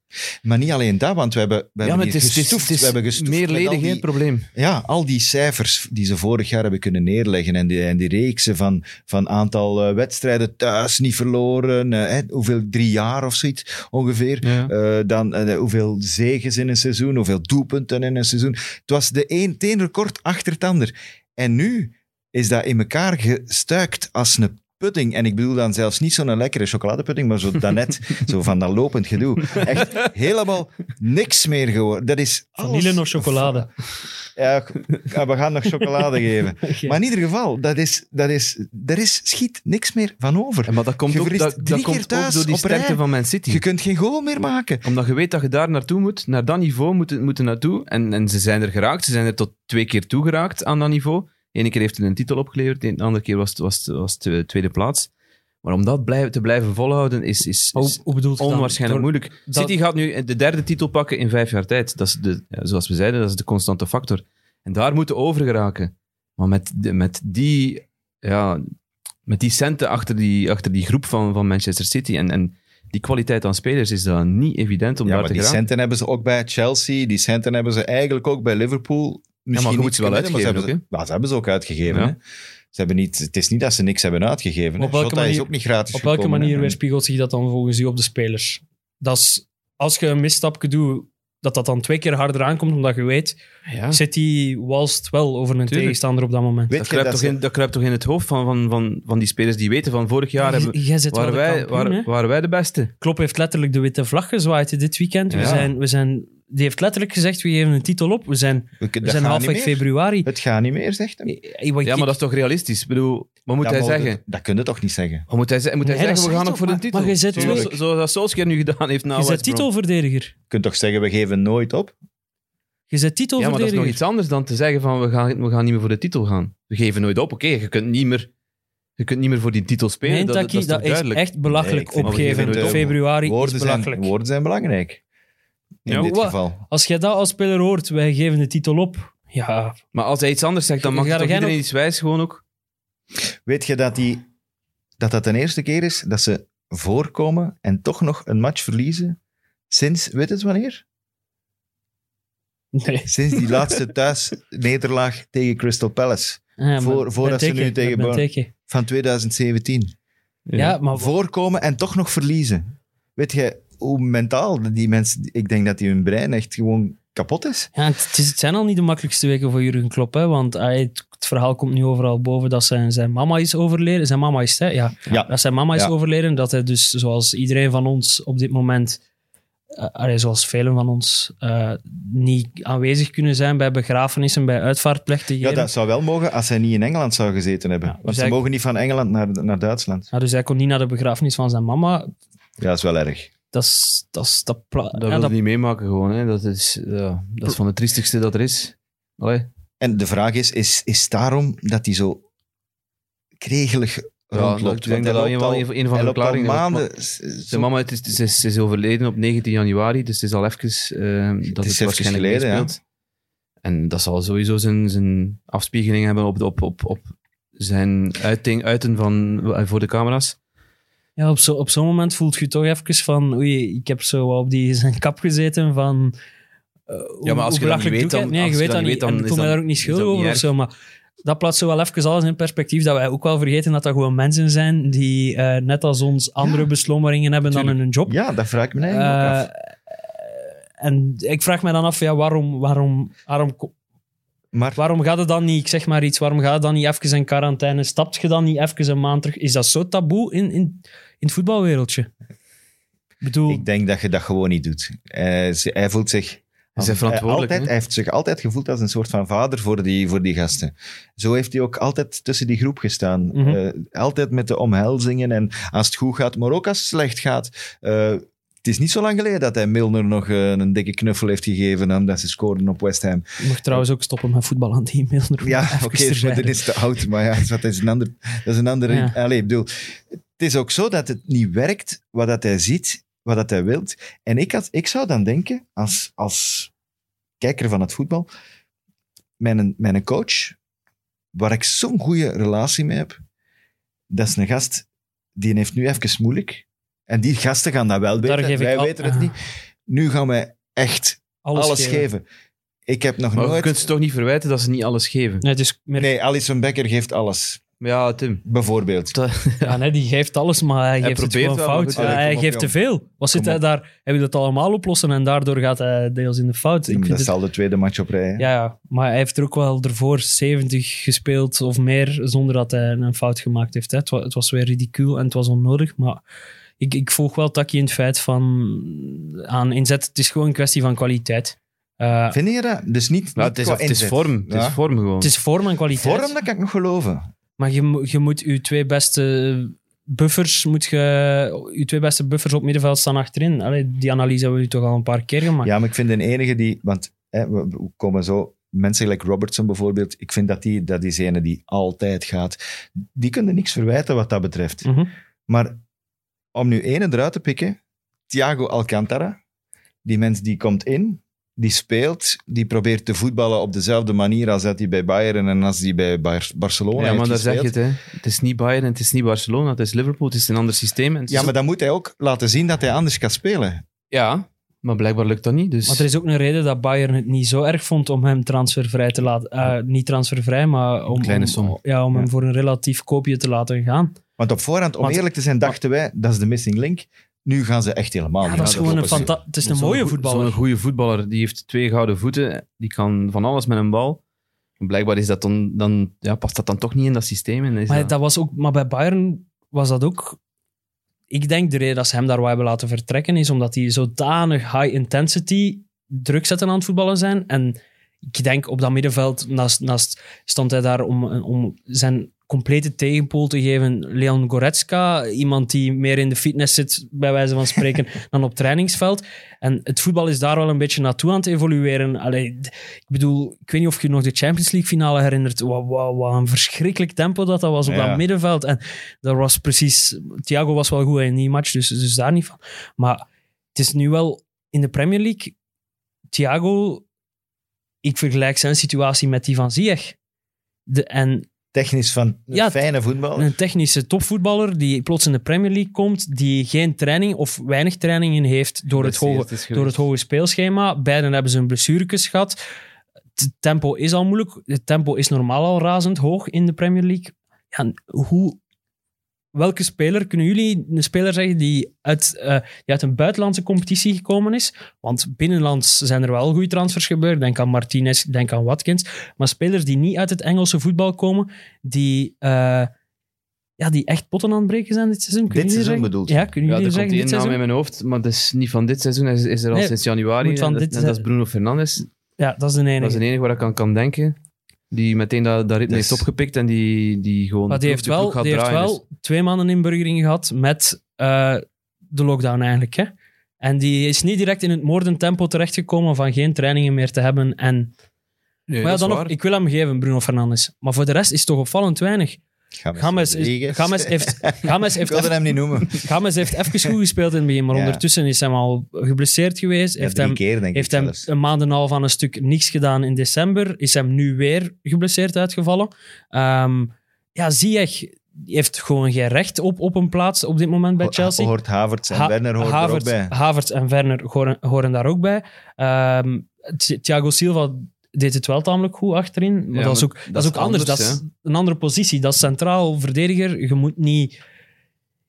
S2: Maar niet alleen dat, want we hebben, we hebben hier gestoefd. we hebben gestoefd met al
S4: meerledig
S2: die-
S4: geen probleem.
S2: Ja, al die cijfers die ze vorig jaar hebben kunnen neerleggen en die, en die reeksen van, van aantal eh, wedstrijden thuis niet verloren, eh, hè, hoeveel drie jaar of zoiets ongeveer,
S4: Ja.
S2: Eh, dan eh, hoeveel zegens in een seizoen, hoeveel doelpunten in een seizoen. Het was de een, het een record achter het ander. En nu is dat in elkaar gestuikt als een pudding. En ik bedoel dan zelfs niet zo'n lekkere chocoladepudding, maar zo daarnet, zo van dat lopend gedoe. Echt helemaal niks meer geworden. Dat is alles-
S3: Vanille nog chocolade.
S2: Ja, k- ja, we gaan nog chocolade geven. Maar in ieder geval, dat is, dat is, er is schiet niks meer van over.
S4: En maar dat komt,
S2: Je
S4: ook,
S2: verliest
S4: dat,
S2: drie
S4: dat
S2: keer
S4: komt ook
S2: thuis
S4: door die
S2: op rij.
S4: sterkte van Man City.
S2: Je kunt geen goal meer maken.
S4: Omdat je weet dat je daar naartoe moet, naar dat niveau moet, moeten naartoe. En, en ze zijn er geraakt. Ze zijn er tot twee keer toe geraakt aan dat niveau. Eén keer heeft het een titel opgeleverd, de andere keer was het, was, het- was het eh, tweede plaats. Maar om dat blij- te blijven volhouden is, is,
S3: Hoe,
S4: is
S3: hoe bedoelt je dan?
S4: onwaarschijnlijk
S3: Door-
S4: moeilijk.
S3: dat-
S4: City gaat nu de derde titel pakken in vijf jaar tijd. Dat is de, ja, zoals we zeiden, dat is de constante factor. En daar moeten we over geraken. Maar met, de- met, die, ja, met die centen achter die, achter die groep van, van Manchester City en, en die kwaliteit aan spelers is dat niet evident om
S2: Ja,
S4: daar
S2: maar
S4: te
S2: die
S4: geraken.
S2: centen hebben ze ook bij Chelsea. Die centen hebben ze eigenlijk ook bij Liverpool. Misschien
S4: je moet
S2: niet
S4: ze wel
S2: kunnen, maar
S4: uitgeven
S2: hebben
S4: ook,
S2: ze, maar ze hebben ze ook uitgegeven.
S4: Ja.
S2: Hè? Ze hebben niet, het is niet dat ze niks hebben uitgegeven. hè.
S3: Op welke
S2: Jota is
S3: manier-
S2: ook niet gratis
S3: Op welke
S2: gekomen,
S3: manier
S2: hè.
S3: weerspiegelt zich dat dan volgens u op de spelers? Dat is, als je een misstapje doet, dat dat dan twee keer harder aankomt, omdat je weet,
S4: Ja.
S3: City walst wel over een tegenstander op dat moment.
S2: Weet
S4: Dat
S2: je
S4: kruipt,
S2: dat
S4: toch
S2: ze-
S4: in, dat kruipt toch in het hoofd van, van, van, van die spelers die weten van vorig jaar hebben,
S3: Jij zit wel
S4: waren,
S3: de
S4: wij,
S3: kampioen, hè?
S4: waren, waren wij de beste.
S3: Klopp heeft letterlijk de witte vlag gezwaaid hè, dit weekend. We
S4: Ja.
S3: zijn, we zijn, die heeft letterlijk gezegd, we geven een titel op. We zijn,
S2: we kunnen-
S3: we
S2: dat
S3: zijn
S2: gaat
S3: halfweg
S2: niet meer.
S3: februari.
S2: Het gaat niet meer, zegt hij.
S3: Eh, wat
S4: Ja,
S3: ik-
S4: maar dat is toch realistisch? Ik bedoel, wat moet
S2: Dat
S4: hij
S2: mogen-
S4: zeggen?
S2: Dat kun je toch niet zeggen?
S4: Wat moet hij, ze- moet hij
S3: Nee, dat
S4: zeggen, we
S3: zeg
S4: gaan
S3: je
S4: ook voor de
S3: toch,
S4: titel?
S3: maar- maar je zet
S4: Zoals-
S3: wel-
S4: Zoals dat Solskjaer nu gedaan heeft nou, na
S3: je bent
S4: West Brom.
S3: titelverdediger.
S2: Je kunt toch zeggen, we geven nooit op?
S3: Je bent
S4: Ja, maar dat is nog
S3: titelverdediger.
S4: iets anders dan te zeggen van we gaan, we gaan niet meer voor de titel gaan. We geven nooit op. Oké, je kunt niet meer... Je kunt niet meer voor die titel spelen.
S3: Nee,
S4: dat, dat
S3: Taki,
S4: is toch
S3: dat is
S4: duidelijk.
S3: echt belachelijk
S2: Nee, ik vind-
S3: opgeven.
S4: ik vind het-
S3: Februari
S2: Woorden
S3: is
S2: zijn,
S3: belachelijk.
S2: woorden zijn belangrijk. In
S4: Ja,
S2: dit
S3: wa-
S2: geval.
S3: Als jij dat als speler hoort, wij geven de titel op. Ja,
S4: Maar als hij iets anders zegt, dan mag
S3: Ga
S4: toch
S3: jij
S4: iedereen
S3: nog-
S4: iets wijs gewoon ook.
S2: Weet je dat, die, dat dat de eerste keer is dat ze voorkomen en toch nog een match verliezen sinds, weet het wanneer?
S3: nee.
S2: Sinds die laatste thuisnederlaag tegen Crystal Palace
S3: Ja,
S2: Voor- voordat ze nu tegen Bar-
S3: Benteke.
S2: van 2017.
S3: Ja, maar voor...
S2: Voorkomen en toch nog verliezen. Weet je hoe mentaal die mensen, ik denk dat die hun brein echt gewoon kapot is.
S3: ja, het, het is- het zijn al niet de makkelijkste weken voor Jurgen Klopp. Hè, want hij, het, het verhaal komt nu overal boven dat zijn, zijn mama is overleden. Zijn mama is het, hè? Ja.
S2: Ja.
S3: Dat zijn mama is
S2: Ja.
S3: overleden. Dat hij dus, zoals iedereen van ons op dit moment... eh, allee, zoals velen van ons eh, niet aanwezig kunnen zijn bij begrafenissen, bij uitvaartplechtigheden.
S2: Ja, dat zou wel mogen als hij niet in Engeland zou gezeten hebben.
S3: Ja,
S2: Want
S3: dus
S2: ze
S3: hij-
S2: mogen niet van Engeland naar, naar Duitsland.
S3: Ja, dus hij kon niet naar de begrafenis van zijn mama.
S2: Ja, dat is wel erg.
S3: Dat is... Dat, is- dat, pla-
S4: Dat
S3: ja,
S4: wil je
S3: dat-
S4: niet meemaken gewoon. Hè. Dat, is, ja, dat is van het triestigste dat er is. Allee.
S2: En de vraag is, is, is daarom dat hij zo kregelig
S4: dat-
S2: rondloopt?
S4: ik denk
S2: Want
S4: dat dat
S2: hij
S4: een,
S2: loopt al-
S4: wel een- een van
S2: hij
S4: de
S2: loopt al
S4: verklaringen is.
S2: maanden...
S4: Zijn mama het is, het is, ze is overleden op 19 januari, dus het is al even eh, dat
S2: is
S4: het,
S2: even
S4: waarschijnlijk
S2: geleden, ja.
S4: meespeelt. En dat zal sowieso zijn, zijn afspiegeling hebben op, op, op, op zijn uiting, uiten van, eh, voor de camera's.
S3: Ja, op zo'n op zo'n moment voelt je toch even van, oei, ik heb zo wel op die zijn kap gezeten van... eh, hoe-
S4: Ja, maar als
S3: hoe
S4: je dat niet
S3: belachelijk doe
S4: weet,
S3: ik
S4: dan-
S3: het? Nee,
S4: als
S3: je
S4: je
S3: weet
S4: dat
S3: dat
S4: niet
S3: niet.
S4: weet,
S3: En
S4: dan
S3: ik
S4: is
S3: voel mij
S4: dat-
S3: daar ook niet
S4: is dat
S3: schuldig
S4: niet
S3: over of
S4: erg.
S3: zo, maar dat plaatst zo wel even alles in perspectief, dat wij ook wel vergeten dat dat gewoon mensen zijn die, eh, net als ons, andere beslommeringen hebben dan in hun job.
S2: Ja, dat vraag ik me eigenlijk
S3: Eh,
S2: ook af.
S3: en ik vraag me dan af, ja, waarom, waarom, waarom, ko-
S2: Maar
S3: waarom gaat het dan niet, ik zeg maar iets, waarom gaat het dan niet even in quarantaine? Stapt je dan niet even een maand terug? Is dat zo taboe in, in, in het voetbalwereldje? Ik bedoel,
S2: ik denk dat je dat gewoon niet doet. Eh, ze- hij voelt zich...
S4: Hij is verantwoordelijk,
S2: altijd,
S4: hè?
S2: hij heeft zich altijd gevoeld als een soort van vader voor die, voor die gasten. Zo heeft hij ook altijd tussen die groep gestaan.
S3: Mhm.
S2: Eh, altijd met de omhelzingen en als het goed gaat, maar ook als het slecht gaat. Eh, het is niet zo lang geleden dat hij Milner nog eh, een dikke knuffel heeft gegeven aan dat ze scoorden op West Ham.
S3: Je mag trouwens ook stoppen met voetbal aan die e-mail.
S2: Ja, oké, maar dit is te oud. Maar ja, dat is een ander... Dat is een andere
S3: Ja.
S2: Allee, ik bedoel, het is ook zo dat het niet werkt wat dat hij ziet, wat dat hij wilt. En ik, had, ik zou dan denken, als, als kijker van het voetbal, mijn, mijn coach, waar ik zo'n goede relatie mee heb, dat is een gast, die heeft nu even moeilijk. En die gasten gaan dat wel
S3: Daar
S2: weten.
S3: geef ik
S2: wij
S3: al-
S2: weten het
S3: Ah.
S2: niet. Nu gaan wij echt alles, geven. Ik heb nog
S4: Maar je
S2: nooit...
S4: kunt ze toch niet verwijten dat ze niet alles geven.
S3: Nee, het is meer
S2: Nee, Alison Becker geeft alles.
S4: Maar ja, Tim.
S2: Bijvoorbeeld.
S3: Ja, nee, die geeft alles, maar hij geeft het
S4: probeert
S3: gewoon
S4: wel, maar
S3: fout.
S4: goed, ja,
S3: Ja, hij
S2: kom op,
S3: geeft te
S2: jong.
S3: veel. Wat zit
S2: Kom
S3: hij
S2: op.
S3: daar? Hij wil het allemaal oplossen en daardoor gaat hij deels in de fout. Ik
S2: dat
S3: vind
S2: is
S3: het,
S2: al de tweede match op rij. hè.
S3: ja, ja, maar hij heeft er ook wel ervoor 70 gespeeld of meer zonder dat hij een fout gemaakt heeft. Hè. Het, was, het was weer ridicuul en het was onnodig, maar ik, ik volg wel Taki in het feit van aan inzet. Het is gewoon een kwestie van kwaliteit. Eh,
S2: Vind je dat? Dus niet,
S4: Ja,
S2: niet
S4: het, is,
S2: qua
S4: het is
S2: inzet.
S4: vorm. Het
S2: Ja.
S4: is vorm gewoon.
S3: het is vorm en kwaliteit.
S2: Vorm, dat kan ik nog geloven.
S3: Maar je, mo- je moet je twee beste buffers, moet je, je twee beste buffers op middenveld staan achterin. Allee, die analyse hebben we nu toch al een paar keer gemaakt.
S2: Ja, maar ik vind de enige die... Want hè, we we komen zo... Mensen gelijk Robertson bijvoorbeeld, ik vind dat die, dat is ene die altijd gaat. Die kunnen niks verwijten wat dat betreft.
S4: Mm.
S3: Mhm.
S2: Maar om nu ene eruit te pikken, Thiago Alcantara, die mens die komt in, die speelt, die probeert te voetballen op dezelfde manier als dat hij bij Bayern en als hij bij Bar- Barcelona
S4: ja, maar
S2: heeft
S4: daar zeg je
S2: gespeeld.
S4: het. Hè. Het is niet Bayern, het is niet Barcelona, het is Liverpool, het is een ander systeem. En het is-
S2: Ja, maar dan moet hij ook laten zien dat hij anders kan spelen.
S4: ja, maar blijkbaar lukt dat niet. Dus...
S3: Maar er is ook een reden dat Bayern het niet zo erg vond om hem transfervrij te laten. eh, niet transfervrij, maar om,
S4: Kleine
S3: om-
S4: som.
S3: ja, om hem
S2: Ja.
S3: voor een relatief koopje te laten gaan.
S2: Want op voorhand, om
S3: Want-
S2: eerlijk te zijn, dachten wij, dat is de missing link. Nu gaan ze echt helemaal
S3: Ja,
S2: niet
S3: dat is
S2: naar
S3: gewoon
S2: de
S3: een
S2: toppen.
S3: fanta- Het is een
S4: Zo'n
S3: mooie
S4: goe-
S3: voetballer.
S4: Zo'n goede voetballer, die heeft twee gouden voeten, die kan van alles met een bal. En Blijkbaar is dat dan, dan, ja, past dat dan toch niet in dat systeem. En is
S3: Maar,
S4: dat-
S3: dat was ook, maar bij Bayern was dat ook... Ik denk de reden dat ze hem daar wel hebben laten vertrekken is omdat die zodanig high intensity druk zetten aan het voetballen zijn. En ik denk op dat middenveld naast, naast stond hij daar om, om zijn complete tegenpool te geven. Leon Goretzka, iemand die meer in de fitness zit, bij wijze van spreken, dan op trainingsveld. En het voetbal is daar wel een beetje naartoe aan het evolueren. Allee, d- ik bedoel, ik weet niet of je nog de Champions League finale herinnert. Wat, wat, wat een verschrikkelijk tempo dat dat was op
S2: Ja.
S3: dat middenveld. En daar was precies... Thiago was wel goed in die match, dus, dus daar niet van. Maar het is nu wel in de Premier League... Thiago, ik vergelijk zijn situatie met die van Ziyech. De, en
S2: Technisch van een
S3: Ja,
S2: fijne voetbal.
S3: een technische topvoetballer die plots in de Premier League komt, die geen training of weinig training in heeft door het, hoge,
S4: Geblesseerd is
S3: door het
S4: geweest.
S3: hoge speelschema. Beiden hebben zijn blessuretjes gehad. Het tempo is al moeilijk. Het tempo is normaal al razend hoog in de Premier League. Ja, hoe, welke speler, kunnen jullie een speler zeggen die uit, eh, die uit een buitenlandse competitie gekomen is? Want binnenlands zijn er wel goede transfers gebeurd. Denk aan Martinez, denk aan Watkins. Maar spelers die niet uit het Engelse voetbal komen, die, eh, ja, die echt potten aan het breken zijn dit seizoen. Kunnen
S2: Dit
S3: jullie
S2: seizoen
S3: zeggen?
S2: bedoelt
S3: Ja, kunnen
S4: Ja,
S3: jullie
S4: er komt
S3: zeggen
S4: die
S3: dit
S4: naam
S3: seizoen?
S4: in mijn hoofd, maar dat is niet van dit seizoen. Hij is, is er al
S3: Nee,
S4: sinds januari.
S3: moet van
S4: en dat,
S3: dit
S4: en dat is
S3: se-
S4: Bruno Fernandes.
S3: Ja, dat is de enige.
S4: Dat is de enige waar ik aan kan denken. Die meteen dat, dat ritme
S2: Dus-
S4: heeft opgepikt en die, die gewoon
S3: Maar die
S4: de
S3: heeft
S4: ploeg- de
S3: wel,
S4: ploeg
S3: die
S4: gaat
S3: heeft
S4: draaien. Dus-
S3: wel twee maanden inburgering gehad met eh, de lockdown eigenlijk. Hè? En die is niet direct in het moordentempo terechtgekomen van geen trainingen meer te hebben. En,
S4: Dus-
S3: maar ja,
S4: dat is
S3: dan nog,
S4: waar.
S3: ik wil hem geven, Bruno Fernandes. Maar voor de rest is het toch opvallend weinig.
S2: Games,
S3: Games, is,
S2: Rodriguez.
S3: Games heeft, Games
S2: Ik
S3: heeft,
S2: wilde
S3: even,
S2: hem niet noemen.
S3: Games heeft even goed gespeeld in het begin, maar
S2: Ja.
S3: ondertussen is hij al geblesseerd geweest.
S2: Heeft
S3: Heeft
S2: drie
S3: hem
S2: keer, denk
S3: heeft
S2: ik
S3: hem
S2: zelfs.
S3: een maand en een half aan een stuk niks gedaan in december. Is hem nu weer geblesseerd uitgevallen. Ehm ja, Ziyech heeft gewoon geen recht op, op een plaats op dit moment bij Chelsea.
S2: Hoort Havertz en
S3: Ha-
S2: Werner hoort er ook
S3: Havertz, Ah,
S2: bij.
S3: Havertz en Werner horen, horen daar ook bij. Ehm, Thi- Thiago Silva deed het wel tamelijk goed achterin. Maar
S4: Ja,
S3: dat is
S4: maar
S3: ook, dat is ook anders. Dat is een andere positie. Dat is centraal verdediger. Je moet niet...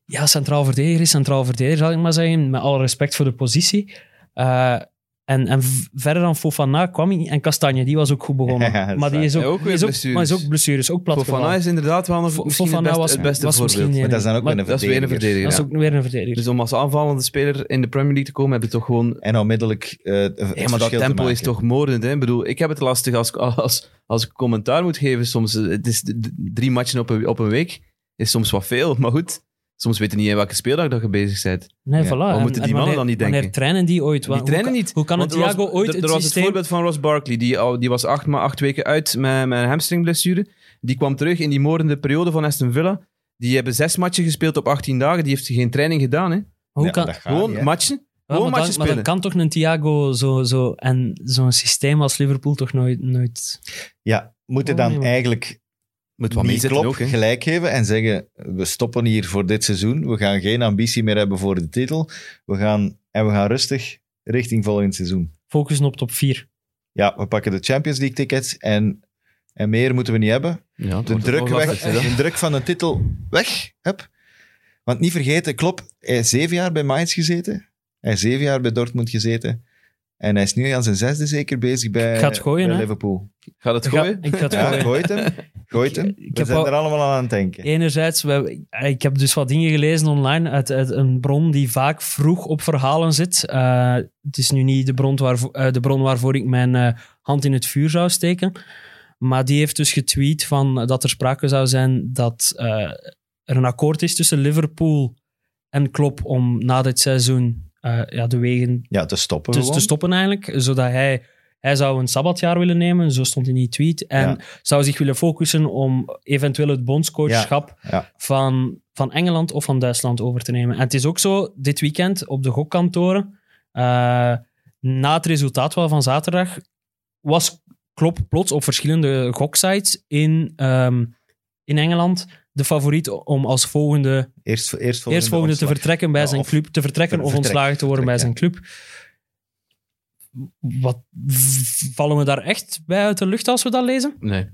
S3: Ja, centraal verdediger is centraal verdediger, zal ik maar zeggen. Met alle respect voor de positie. Eh, en, en v- verder dan Fofana kwam hij... En Castagne, die was ook goed begonnen.
S2: Ja, dat is
S3: maar die
S2: waar.
S3: is ook,
S4: Ja, ook weer
S3: die is ook,
S4: blessures.
S3: maar is ook blessures, ook plat
S4: Fofana is inderdaad wel een,
S3: Fo-
S4: misschien
S3: Fofana
S4: het beste,
S3: was-
S4: het beste
S3: was misschien
S4: voorbeeld.
S3: niet-
S2: Maar dat is dan ook
S3: Maar
S2: weer een
S4: dat is weer een
S2: verdediger.
S4: verdediger.
S3: Dat is
S4: ja.
S3: ook weer een verdediger.
S4: Dus om als aanvallende speler in de Premier League te komen, heb je toch gewoon...
S2: En onmiddellijk eh het
S4: Ja, maar dat
S2: verschil te
S4: tempo is
S2: maken.
S4: toch moordend. Hè? Ik bedoel, ik heb het lastig als, als, als ik commentaar moet geven. Soms, eh, het is d- d- drie matchen op een, op een week is soms wat veel. Maar goed, soms weet je niet in welke speeldag dat je bezig bent.
S3: Nee,
S2: Ja.
S3: voilà.
S4: Wat
S3: En-
S4: moeten die
S3: en wanneer-
S4: mannen dan niet denken?
S3: Wanneer trainen die ooit? Wa-
S4: Die
S3: hoe
S4: trainen
S3: kan-
S4: niet.
S3: Hoe kan een
S4: Want er was-
S3: Thiago ooit
S4: er-
S3: het
S4: Er was het
S3: systeem...
S4: voorbeeld van Ross Barkley. Die, al- die was acht, maar acht weken uit met, met een hamstringblessure. Die kwam terug in die moordende periode van Aston Villa. Die hebben zes matchen gespeeld op 18 dagen. Die heeft geen training gedaan. Hè?
S3: Hoe
S2: Ja,
S3: kan,
S2: dat gaat
S4: Gewoon
S2: niet, hè.
S4: matchen.
S3: Ja,
S4: Gewoon
S3: maar,
S4: matchen
S3: dan, maar dan
S4: spelen.
S3: kan toch een Thiago zo, zo, en zo'n systeem als Liverpool toch nooit... nooit...
S2: Ja, moeten
S3: Oh, nee,
S2: dan
S3: maar-
S2: eigenlijk
S4: Moet wat
S2: niet
S4: meezitten
S2: klop
S4: ook. hè.
S2: gelijk geven en zeggen we stoppen hier voor dit seizoen, we gaan geen ambitie meer hebben voor de titel, we gaan, en we gaan rustig richting volgend seizoen.
S3: Focussen op top 4.
S2: Ja, we pakken de Champions League tickets en En meer moeten we niet hebben.
S4: Ja, het
S2: De
S4: wordt
S2: druk,
S4: ook wel
S2: weg,
S4: lastig, hè.
S2: de druk van de titel weg. Hup. Want niet vergeten, Klopp, hij heeft zeven jaar bij Mainz gezeten. Hij heeft zeven jaar bij Dortmund gezeten. En hij is nu aan zijn zesde zeker bezig bij,
S3: Ik ga het gooien,
S2: bij
S3: hè.
S2: Liverpool.
S4: Gaat het
S3: Ik ga-
S4: gooien?
S3: Ik ga het
S2: Ja,
S3: gooien.
S2: gooit hem. Gooit hem.
S3: Ik- ik
S2: We
S3: heb
S2: zijn
S3: al-
S2: er allemaal aan aan het denken.
S3: Enerzijds, we, ik heb dus wat dingen gelezen online uit, uit een bron die vaak vroeg op verhalen zit. Eh, het is nu niet de bron, waarvo- eh, de bron waarvoor ik mijn eh, hand in het vuur zou steken. Maar die heeft dus getweet van, eh, dat er sprake zou zijn dat eh, er een akkoord is tussen Liverpool en Klopp om na dit seizoen eh, ja, de wegen
S2: Ja, te stoppen
S3: te,
S2: gewoon.
S3: te stoppen eigenlijk, zodat hij... Hij zou een sabbatjaar willen nemen, zo stond in die tweet. En
S2: Ja.
S3: zou zich willen focussen om eventueel het bondscoachschap
S2: Ja, ja.
S3: Van, van Engeland of van Duitsland over te nemen. En het is ook zo, dit weekend op de gokkantoren, eh, na het resultaat wel van zaterdag, was Klopp plots op verschillende goksites in, ehm, in Engeland de favoriet om als volgende
S2: Eerst, eerst volgende,
S3: eerst volgende te
S2: ontslag.
S3: vertrekken bij
S2: Ja,
S3: zijn
S2: of-
S3: club, te vertrekken
S2: ver-
S3: of
S2: vertrek,
S3: ontslagen te worden bij zijn
S2: vertrek,
S3: club. Wat v- vallen we daar echt bij uit de lucht als we dat lezen?
S4: Nee.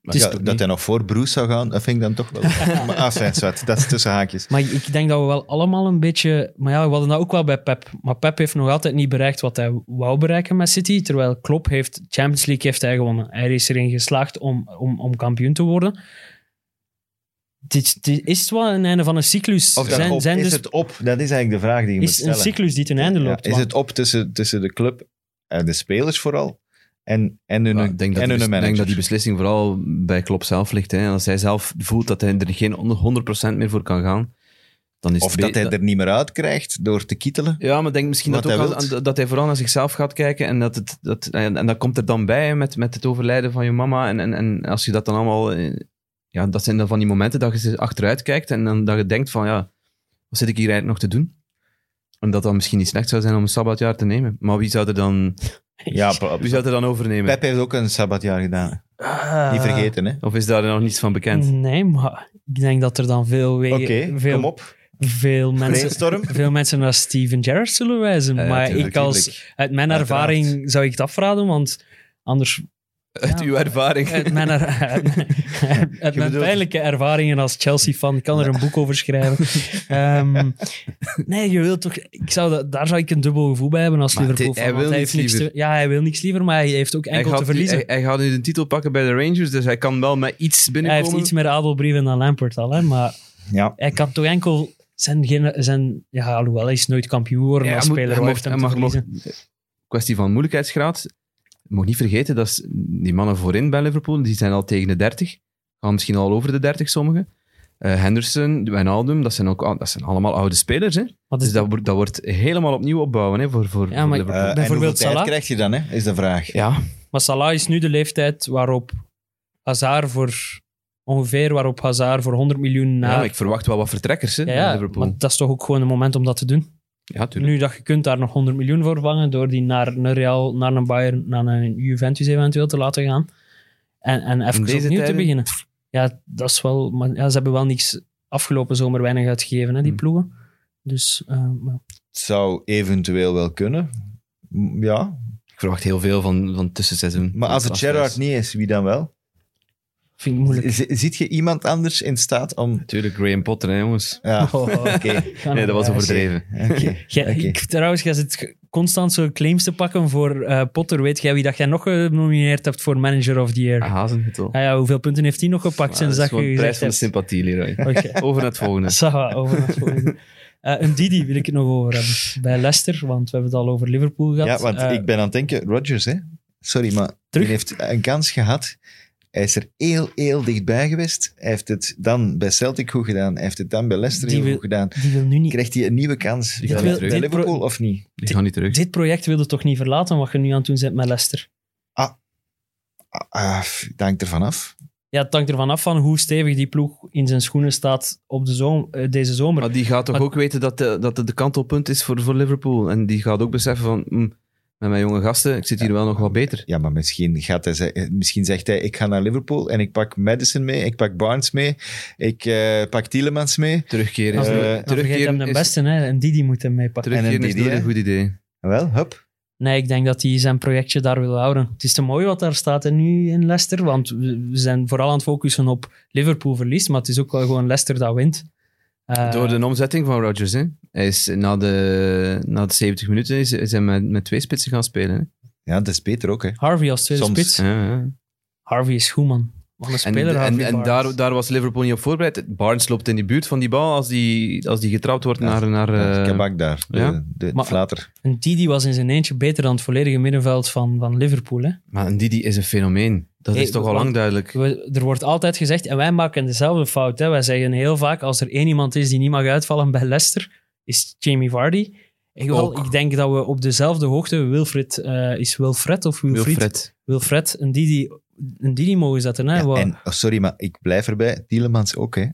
S4: Maar
S3: is
S4: ja,
S2: Ja,
S3: toch
S2: dat hij nog voor Bruce zou gaan, dat vind ik dan toch wel... maar enfin, zwart, dat is tussen haakjes.
S3: Maar ik denk dat we wel allemaal een beetje. Maar ja, we hadden dat ook wel bij Pep. Maar Pep heeft nog altijd niet bereikt wat hij wou bereiken met City. Terwijl Klopp heeft Champions League heeft hij gewonnen. Hij is erin geslaagd om, om, om kampioen te worden. Dit, dit is wel een einde van een cyclus.
S2: Of dat
S3: zijn,
S2: op,
S3: zijn
S2: is
S3: dus,
S2: het op? Dat is eigenlijk de vraag die je moet
S3: is
S2: stellen.
S3: een cyclus die ten einde
S2: Ja,
S3: loopt.
S2: is
S3: want-
S2: het op tussen, tussen de club en de spelers vooral en, en hun,
S4: maar ik denk dat,
S2: en hun
S4: die, bes-
S2: manager?
S4: denk dat die beslissing vooral bij Klopp zelf ligt. Hè. En als hij zelf voelt dat hij er geen 100% meer voor kan gaan, dan is
S2: of
S4: het
S2: dat
S4: be-
S2: hij er niet meer uit krijgt door te kietelen.
S4: Ja, maar ik denk misschien
S2: Wat
S4: dat, ook
S2: hij
S4: aan-
S2: wilt.
S4: aan- dat hij vooral naar zichzelf gaat kijken. En dat, het, dat, en, en dat komt er dan bij hè, met, met het overlijden van je mama. En, en, en als je dat dan allemaal. eh, Ja, dat zijn dan van die momenten dat je ze achteruit kijkt en dan dat je denkt: van ja, wat zit ik hier eigenlijk nog te doen? En dat dan misschien niet slecht zou zijn om een sabbatjaar te nemen. Maar wie zou er dan,
S2: Ja, pa-
S4: wie zou er dan overnemen?
S2: Pep heeft ook een sabbatjaar gedaan.
S3: Ah.
S2: Niet vergeten, hè?
S4: Of is daar nog niets van bekend?
S3: Nee, maar ik denk dat er dan veel, wegen,
S2: Oké, kom
S3: veel,
S2: op.
S3: veel, mensen,
S2: Brainstorm.
S3: veel mensen naar Steven Gerrard zullen wijzen.
S4: Eh,
S3: maar
S4: tuurlijk,
S3: ik als,
S2: tuurlijk.
S3: uit mijn
S2: Uiteraard.
S3: ervaring zou ik het afraden, want anders...
S4: Uit
S3: Ja. Eh,
S4: uw ervaring.
S3: Uit mijn, er- uit mijn- uit mijn
S2: bedoelt-
S3: pijnlijke ervaringen als Chelsea-fan, ik kan er een boek over schrijven. Ehm, nee, je wilt toch... Ik zou dat, daar zou ik een dubbel gevoel bij hebben als
S4: Maar het-
S3: Liverpool-fan.
S4: hij
S3: want
S4: wil
S3: heeft
S4: niks
S3: niks te,
S4: liever.
S3: Ja, hij wil niks liever, maar hij heeft ook
S4: Hij
S3: enkel
S4: gaat,
S3: te verliezen.
S4: hij, hij gaat nu de titel pakken bij de Rangers, dus hij kan wel met iets
S3: hij
S4: binnenkomen.
S3: heeft iets meer adelbrieven dan Lampard al, hè, maar...
S2: Ja.
S3: Hij kan toch enkel zijn, gene- zijn ja, alhoewel hij is nooit kampioen geworden
S4: Ja,
S3: als
S4: hij moet-
S3: speler,
S4: hij
S3: hij
S4: mag-
S3: heeft hem
S4: hij
S3: te
S4: mag- mag-
S3: verliezen.
S4: kwestie van moeilijkheidsgraad. Je Moet niet vergeten dat s- die mannen voorin bij Liverpool, die zijn al tegen de 30. Gaan misschien al over de 30 sommigen. Eh, Henderson, Wijnaldum, dat zijn, ook, al- dat zijn allemaal oude spelers. Hè?
S3: Wat
S4: Dus
S3: is dat?
S4: dat, wordt- dat wordt helemaal opnieuw opbouwen hè, voor, voor,
S3: Ja,
S4: voor
S3: maar-
S4: Liverpool.
S2: Eh en
S3: Bijvoorbeeld
S2: hoeveel tijd
S3: Salah.
S2: krijg je dan, hè? Is de vraag.
S4: ja,
S3: Maar Salah is nu de leeftijd waarop Hazard voor ongeveer waarop Hazard voor 100 miljoen
S4: ja,
S3: naar
S4: ik verwacht wel wat vertrekkers hè,
S3: Nou- Ja,
S4: bij
S3: ja,
S4: Liverpool.
S3: maar dat is toch ook gewoon een moment om dat te doen.
S4: ja, tuurlijk.
S3: Nu dat je kunt daar nog 100 miljoen voor vangen door die naar een Real, naar een Bayern, naar een Juventus eventueel te laten gaan en, en even
S4: deze
S3: opnieuw te
S4: tijden?
S3: beginnen. Ja, dat is wel. Maar ja, ze hebben wel niks afgelopen zomer weinig uitgegeven hè, die
S4: Hm.
S3: ploegen. Dus eh, maar-
S2: Het zou eventueel wel kunnen. M- Ja.
S4: Ik verwacht heel veel van, van tussenseizoen.
S2: Maar als het Gerrard niet is, wie dan wel?
S3: vind ik moeilijk.
S2: Z- ziet je iemand anders in staat om...
S4: Natuurlijk, Graham Potter, hè, jongens.
S2: Ja,
S3: Oh.
S2: oké.
S4: Nee, dat was
S3: Ah, Ja,
S4: overdreven.
S2: Oké.
S3: Jij-
S2: Oké.
S3: ik- trouwens, jij zit g- constant zo claims te pakken voor eh, Potter. Weet jij wie dat jij nog genomineerd hebt voor Manager of the Year? Ah,
S4: Hazen, het al.
S3: ja, hoeveel punten heeft hij nog gepakt
S4: Ja,
S3: sinds
S4: Ah, dat is
S3: dat,
S4: gewoon
S3: je
S4: de prijs
S3: gezegd
S4: van de
S3: hebt?
S4: sympathie, Leroy.
S3: Oké,
S4: Over naar het volgende.
S3: ça va, over naar het volgende. Eh, een Didi wil ik het nog over hebben. Bij Leicester, want we hebben het al over Liverpool gehad.
S2: Ja, want
S3: Eh,
S2: ik ben aan het denken, Rodgers, hè? Sorry, maar
S3: Terug?
S2: die heeft een kans gehad. Hij is er heel, heel dichtbij geweest. Hij heeft het dan bij Celtic goed gedaan. Hij heeft het dan bij Leicester
S3: Die
S2: heel
S3: wil-
S2: goed gedaan.
S3: Die wil nu niet...
S2: Krijgt hij een nieuwe kans
S4: Die
S2: bij,
S4: wil-
S2: bij
S3: dit
S2: Liverpool
S3: pro-
S2: of niet?
S4: Die gaan niet terug.
S3: Dit project wilde toch niet verlaten wat je nu aan het doen bent met Leicester?
S2: Ah, ah, f- dat hangt ervan af.
S3: Ja, het hangt ervan af van hoe stevig die ploeg in zijn schoenen staat op de zom- eh, deze zomer.
S4: Maar die gaat toch
S3: Maar-
S4: ook weten dat, de, dat het de kantelpunt is voor, voor Liverpool. En die gaat ook beseffen van, hm, met mijn jonge gasten, ik zit hier wel nog wat beter.
S2: Ja, maar misschien, gaat hij, ze- eh, misschien zegt hij, ik ga naar Liverpool en ik pak Madison mee, ik pak Barnes mee, ik eh, pak Tielemans mee.
S4: Terugkeren
S3: Dan
S4: is,
S2: Eh,
S3: vergeet- dan vergeet
S4: terugkeren
S3: hem de
S4: is,
S3: beste, hè. En Didi moet hem meepakken.
S2: En
S4: terugkeren
S2: een
S4: is
S2: DD,
S4: nooit
S2: hè?
S4: een goed idee.
S2: Wel, hup.
S3: Nee, ik denk dat hij zijn projectje daar wil houden. Het is te mooi wat daar staat en nu in Leicester, want we we zijn vooral aan het focussen op Liverpool verliest, maar het is ook wel gewoon Leicester dat wint. Eh,
S4: Door de omzetting van Rodgers, hè. Hij is na de, na de 70 minuten is, is hij met, met twee spitsen gaan spelen.
S2: Ja, dat is beter ook, hè.
S3: Harvey als tweede
S2: Soms,
S3: spits.
S4: Hè. Ja, ja.
S3: Harvey is goed, man. Wat een
S4: En,
S3: speler,
S4: en,
S3: Harvey
S4: en
S3: Barnes.
S4: daar, daar was Liverpool niet op voorbereid. Barnes loopt in die buurt van die bal als die, als die getrapt wordt
S2: Ja,
S4: naar... naar
S2: Uh,
S4: eh,
S2: Kabak daar, de,
S4: ja.
S2: de
S3: Maar-
S2: flater.
S3: En Didi was in zijn eentje beter dan het volledige middenveld van, van Liverpool. Hè?
S4: maar Ndidi is een fenomeen. Dat
S3: Hey,
S4: is toch al
S3: want-
S4: lang duidelijk.
S3: We- er wordt altijd gezegd, en wij maken dezelfde fout. Hè? Wij zeggen heel vaak, als er één iemand is die niet mag uitvallen bij Leicester, is Jamie Vardy. Ik, wel,
S4: Ook.
S3: ik denk dat we op dezelfde hoogte Wilfred... eh, is Wilfred of Wilfried? Wilfred.
S4: Wilfred.
S3: en Didi... Een Didi mogen zetten, hè?
S2: Ja,
S3: Wat-
S2: en, oh, sorry, maar ik blijf erbij. Tielemans ook, hè.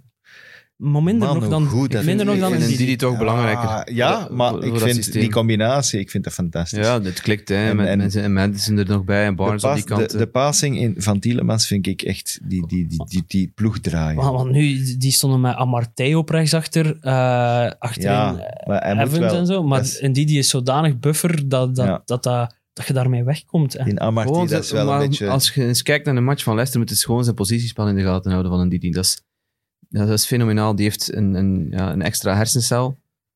S3: maar minder
S2: man,
S3: nog
S2: hoe
S3: dan,
S2: goed dat
S3: minder nog
S2: is.
S3: dan
S4: Ik
S3: een
S4: vind
S3: Didi.
S4: Ndidi toch belangrijker.
S2: Ah, ja,
S4: Voor-
S2: maar
S4: voor
S2: ik
S4: dat
S2: vind
S4: systeem.
S2: die combinatie, ik vind dat fantastisch.
S4: Ja, dat klikt. Hè,
S2: En-
S4: met,
S2: en-
S4: mensen, en Madison er nog bij en
S2: de,
S4: Barnes
S2: pas,
S4: aan die kant.
S2: de, de passing in, van Tielemans vind ik echt die, die, die, die, die ploeg draaien.
S3: Maar, want nu, die stonden met Amartey op rechtsachter. eh achterin
S2: ja,
S3: eh,
S2: maar hij moet
S3: Evans
S2: wel.
S3: en zo. Maar
S2: Dat is-
S3: en die, die is zodanig buffer dat, dat,
S2: Ja.
S3: dat, dat, dat je daarmee wegkomt. En
S2: In Amarty,
S4: Gewoon
S2: dat is
S4: ze-
S2: wel
S4: maar
S2: een beetje...
S4: Als je eens kijkt naar een match van Leicester, moet je gewoon zijn positiespel in de gaten houden van Ndidi. Dat is, dat is fenomenaal. Die heeft een, een, ja, een extra hersencel.
S2: is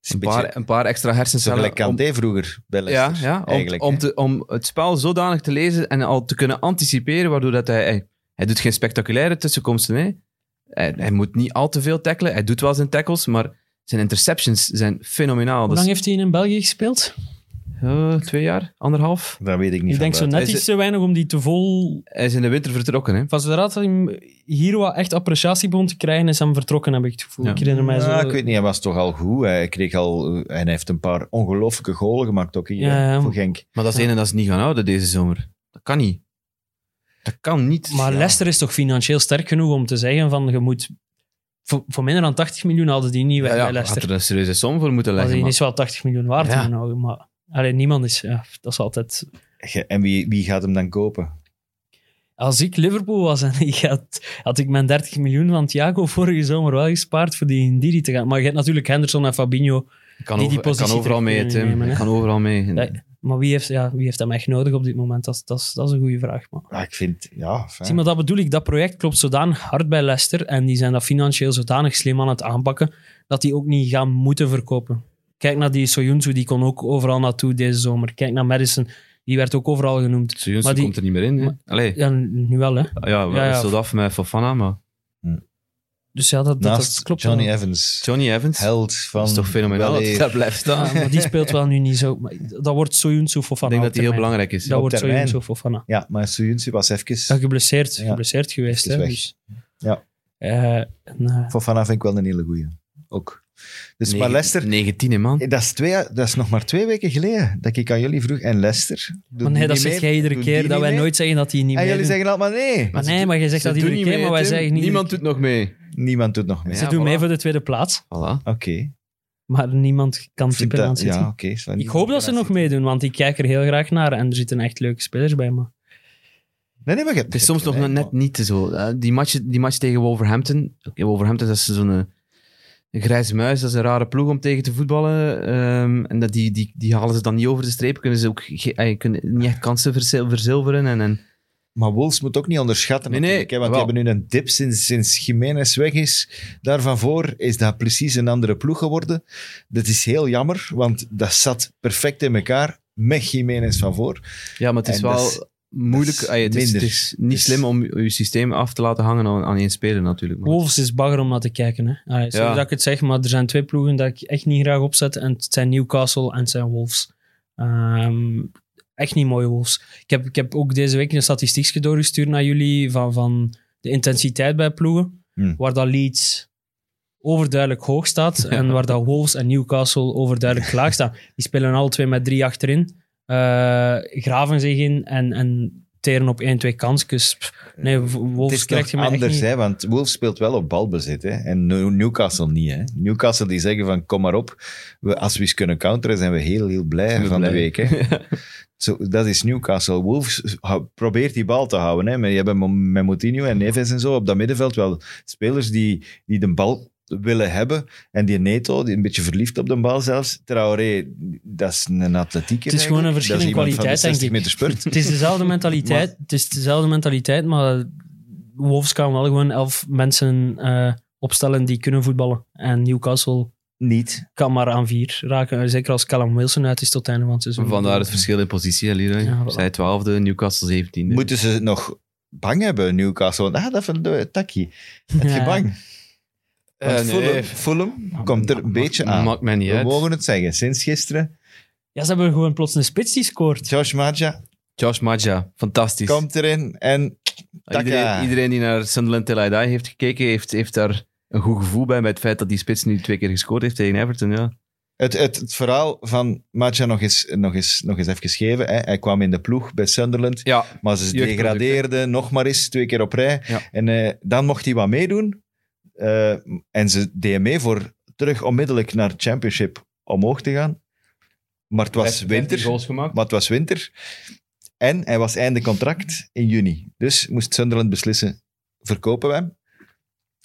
S4: Een
S2: een beetje
S4: paar, een paar extra
S2: zo
S4: hersencellen.
S2: gelijk
S4: om-
S2: Kanté vroeger bij
S4: ja,
S2: Leicester.
S4: ja om,
S2: eigenlijk,
S4: om,
S2: hè.
S4: te, om het spel zodanig te lezen en al te kunnen anticiperen, waardoor dat hij, hij... Hij doet geen spectaculaire tussenkomsten, hè. Hij, hij moet niet al te veel tackelen. Hij doet wel zijn tackles, maar zijn interceptions zijn fenomenaal.
S3: hoe
S4: Dat
S3: lang
S4: is
S3: heeft hij in België gespeeld?
S4: eh, twee jaar, anderhalf.
S2: Dat weet ik niet
S3: Ik denk zo
S2: van buiten.
S3: net
S4: Hij
S3: iets
S4: is-
S3: te weinig om die te vol...
S4: Hij is in de winter vertrokken, hè.
S3: Van zodra dat hij hier wat echt appreciatie begon te krijgen, is hem vertrokken, heb ik het gevoel.
S4: Ja.
S3: Ik herinner mij zo...
S2: Ja, Nou, ik weet niet, hij was toch al goed. Hij kreeg al... eh, En hij heeft een paar ongelooflijke golen gemaakt ook hier,
S3: Ja,
S2: hè,
S3: ja.
S2: voor Genk.
S4: Maar dat is
S3: Ja.
S4: ene dat ze niet gaan houden deze zomer. Dat kan niet. Dat kan niet.
S3: Maar
S4: Ja.
S3: Leicester is toch financieel sterk genoeg om te zeggen van, je moet... Voor, voor minder dan 80 miljoen hadden die niet weg
S4: Ja, ja,
S3: bij
S4: had
S3: Leicester.
S4: er een serieuze som voor moeten
S3: Maar
S4: leggen.
S3: die
S4: maar-
S3: is wel 80 miljoen waard.
S4: Ja.
S3: in mijn ogen, maar alleen niemand is... Ja, dat is altijd...
S2: Ge- En wie, wie gaat hem dan kopen?
S3: Als ik Liverpool was en ik had, had ik mijn 30 miljoen van Thiago vorige zomer wel gespaard voor die Ndidi te gaan. Maar je hebt natuurlijk Henderson en Fabinho.
S4: kan,
S3: die
S4: over-
S3: die positie
S4: kan overal
S3: terug
S4: mee,
S3: kunnen
S4: Tim.
S3: nemen, hè.
S4: kan overal mee.
S3: Ja. Maar wie heeft, ja, wie heeft hem echt nodig op dit moment? Dat, is- dat, is- dat is een goede vraag. Maar.
S2: Ja, Ah, ik vind... Ja, fijn.
S3: Zie, maar dat bedoel ik. Dat project klopt zodanig hard bij Leicester en die zijn dat financieel zodanig slim aan het aanpakken dat die ook niet gaan moeten verkopen. Kijk naar die Soyuncu, die kon ook overal naartoe deze zomer. Kijk naar Madison, die werd ook overal genoemd.
S4: Soyuncu
S3: Maar die-
S4: komt er niet meer in. hè.
S3: maar-
S4: Allee,
S3: Ja, nu wel, hè.
S4: ja, we
S3: ja, ja.
S4: wisselden af met Fofana, maar...
S3: Dus ja, dat, dat,
S2: Naast
S3: dat klopt
S2: Johnny
S3: wel.
S2: Evans.
S4: Johnny Evans.
S2: Held van...
S4: dat is toch fenomenaal dat
S2: Weleer.
S4: hij daar blijft staan.
S3: Ja, maar die speelt wel nu niet zo. Maar dat wordt Soyuncu voor
S4: Ik
S3: van
S4: denk dat hij heel belangrijk is.
S3: Dat
S2: Op
S3: wordt
S2: termijn.
S3: sowieso Fofana.
S2: Ja, maar Suyuncu was
S3: Ja,
S2: even...
S3: geblesseerd,
S2: Ja.
S3: geblesseerd geweest.
S2: Is
S3: Hè,
S2: weg.
S3: dus.
S2: Ja.
S3: Eh, en, eh,
S2: Fofana vind ik wel een hele goeie. Ook. Dus, maar
S4: Negen-
S2: Leicester...
S4: 19, hè, man.
S2: Eh, Dat is, twee, dat is nog maar twee weken geleden dat ik aan jullie vroeg. En Leicester? Doet
S3: maar
S2: die
S3: Oh, nee, dat
S2: niet
S3: zeg
S2: mee?
S3: jij iedere
S2: Doet
S3: keer.
S2: die
S3: Dat
S2: niet
S3: wij
S2: mee?
S3: nooit zeggen dat hij
S2: En
S3: niet meer
S2: jullie
S3: doet.
S2: zeggen allemaal nee.
S3: Maar nee, maar je zegt
S4: Ze
S3: dat
S4: doen
S3: iedere
S4: niet
S3: keer,
S4: mee,
S3: maar wij
S4: Tim.
S3: zeggen niet...
S4: Niemand doet nog mee.
S2: Niemand doet nog mee.
S3: Ze
S4: Ja,
S3: doen
S4: voilà.
S3: mee voor de tweede plaats,
S4: Voilà.
S2: Oké.
S3: maar niemand kan
S2: Ik vind
S3: tippen aan
S2: dat-
S3: City.
S2: Ja, oké. is wel niet
S3: Ik hoop dat ze nog meedoen, want ik kijk er heel graag naar en er zitten echt leuke spelers bij. Maar
S2: Nee, nee, maar je hebt-
S4: Het is
S2: je hebt
S4: soms nog
S2: gelijk,
S4: net
S2: man.
S4: niet zo. Eh, Die match, die match tegen Wolverhampton. Oké, Wolverhampton dat is zo'n eh, een grijze muis. Dat is een rare ploeg om tegen te voetballen. Ehm, en dat die, die, die halen ze dan niet over de streep. Kunnen ze ook ge- eh, kunnen niet echt kansen verzil- verzilveren. En, en,
S2: Maar Wolves moet ook niet onderschatten.
S4: Nee, nee,
S2: natuurlijk, hè, want
S4: wel.
S2: die hebben nu een dip sinds, sinds Jiménez weg is. Daarvan voor is dat precies een andere ploeg geworden. Dat is heel jammer, want dat zat perfect in elkaar met Jiménez van voor.
S4: ja, maar het is
S2: En
S4: wel
S2: dat is-
S4: moeilijk.
S2: dat is
S4: Eh, het, is, het
S2: minder.
S4: is niet
S2: Dus-
S4: slim om je je systeem af te laten hangen aan, aan één speler natuurlijk. Maar.
S3: Wolves is bagger om naar te kijken. Hè. Allee, sorry
S4: Ja.
S3: dat ik het zeg, maar er zijn twee ploegen dat ik echt niet graag opzet. En het zijn Newcastle en het zijn Wolves. Ehm, echt niet mooie Wolves. Ik heb, ik heb ook deze week een statistiekje doorgestuurd naar jullie van, van de intensiteit bij ploegen.
S2: Hmm.
S3: Waar dat Leeds overduidelijk hoog staat en waar dat Wolves en Newcastle overduidelijk laag staan. Die spelen alle twee met drie achterin. eh, graven zich in en, en teren op één, twee kansjes. Dus, Pff, Nee,
S2: Eh, Het
S3: Wolves
S2: is
S3: krijgt
S2: toch
S3: je mij echt
S2: anders,
S3: niet-
S2: hè, want Wolves speelt wel op balbezit. Hè, en New- Newcastle niet. Hè. Newcastle die zeggen van, kom maar op. We, als we eens kunnen counteren, zijn we heel, heel blij
S4: Zijn we
S2: van de
S4: blij.
S2: week. Hè. Zo, dat is Newcastle. Wolves hou- probeert die bal te houden. Hè. Maar je hebt met Mo- met Moutinho en Neves en zo op dat middenveld wel spelers die, die de bal willen hebben. En die Neto, die een beetje verliefd op de bal zelfs. Traoré, dat is een atletieker.
S3: Het is gewoon een verschil in kwaliteit, denk ik.
S2: meter spurt.
S3: Het is dezelfde mentaliteit, het is dezelfde mentaliteit maar Wolves kan wel gewoon elf mensen eh, opstellen die kunnen voetballen. En Newcastle
S2: Niet.
S3: kan maar aan vier raken. Zeker als Callum Wilson uit is tot het einde van het seizoen.
S4: Vandaar het verschil in positie, hè, Leroy.
S3: Ja, voilà.
S4: Zij 12e, Newcastle 17e.
S2: Moeten ze nog bang hebben, Newcastle? Want, Ah, dat van de takkie. Heb je
S3: Ja.
S2: bang?
S4: Eh,
S2: Want
S4: nee.
S2: Fulham, Fulham komt er een beetje aan.
S4: Nou, Maakt mij niet
S2: We
S4: uit.
S2: mogen het zeggen. Sinds gisteren,
S3: Ja, ze hebben gewoon plots een spits die scoort.
S2: Josh Maja
S4: Josh Maja, fantastisch. Ah,
S2: komt erin en Taka.
S4: Iedereen, iedereen die naar Sunderland Till I Die heeft gekeken, heeft, heeft daar een goed gevoel bij, bij het feit dat die spits nu twee keer gescoord heeft tegen Everton. Ja.
S2: Het, het, het verhaal van Maja nog eens, nog eens, nog eens even geven. Hè. Hij kwam in de ploeg bij Sunderland,
S4: ja.
S2: maar ze
S4: Jeugdproduct,
S2: degradeerden nog maar eens twee keer op rij.
S4: Ja.
S2: En eh, dan mocht hij wat meedoen. Eh, en ze deden mee voor terug onmiddellijk naar Championship omhoog te gaan. Maar het was winter.
S4: goals gemaakt.
S2: Maar het was winter. En hij was einde contract in juni. Dus moest Sunderland beslissen, verkopen we hem?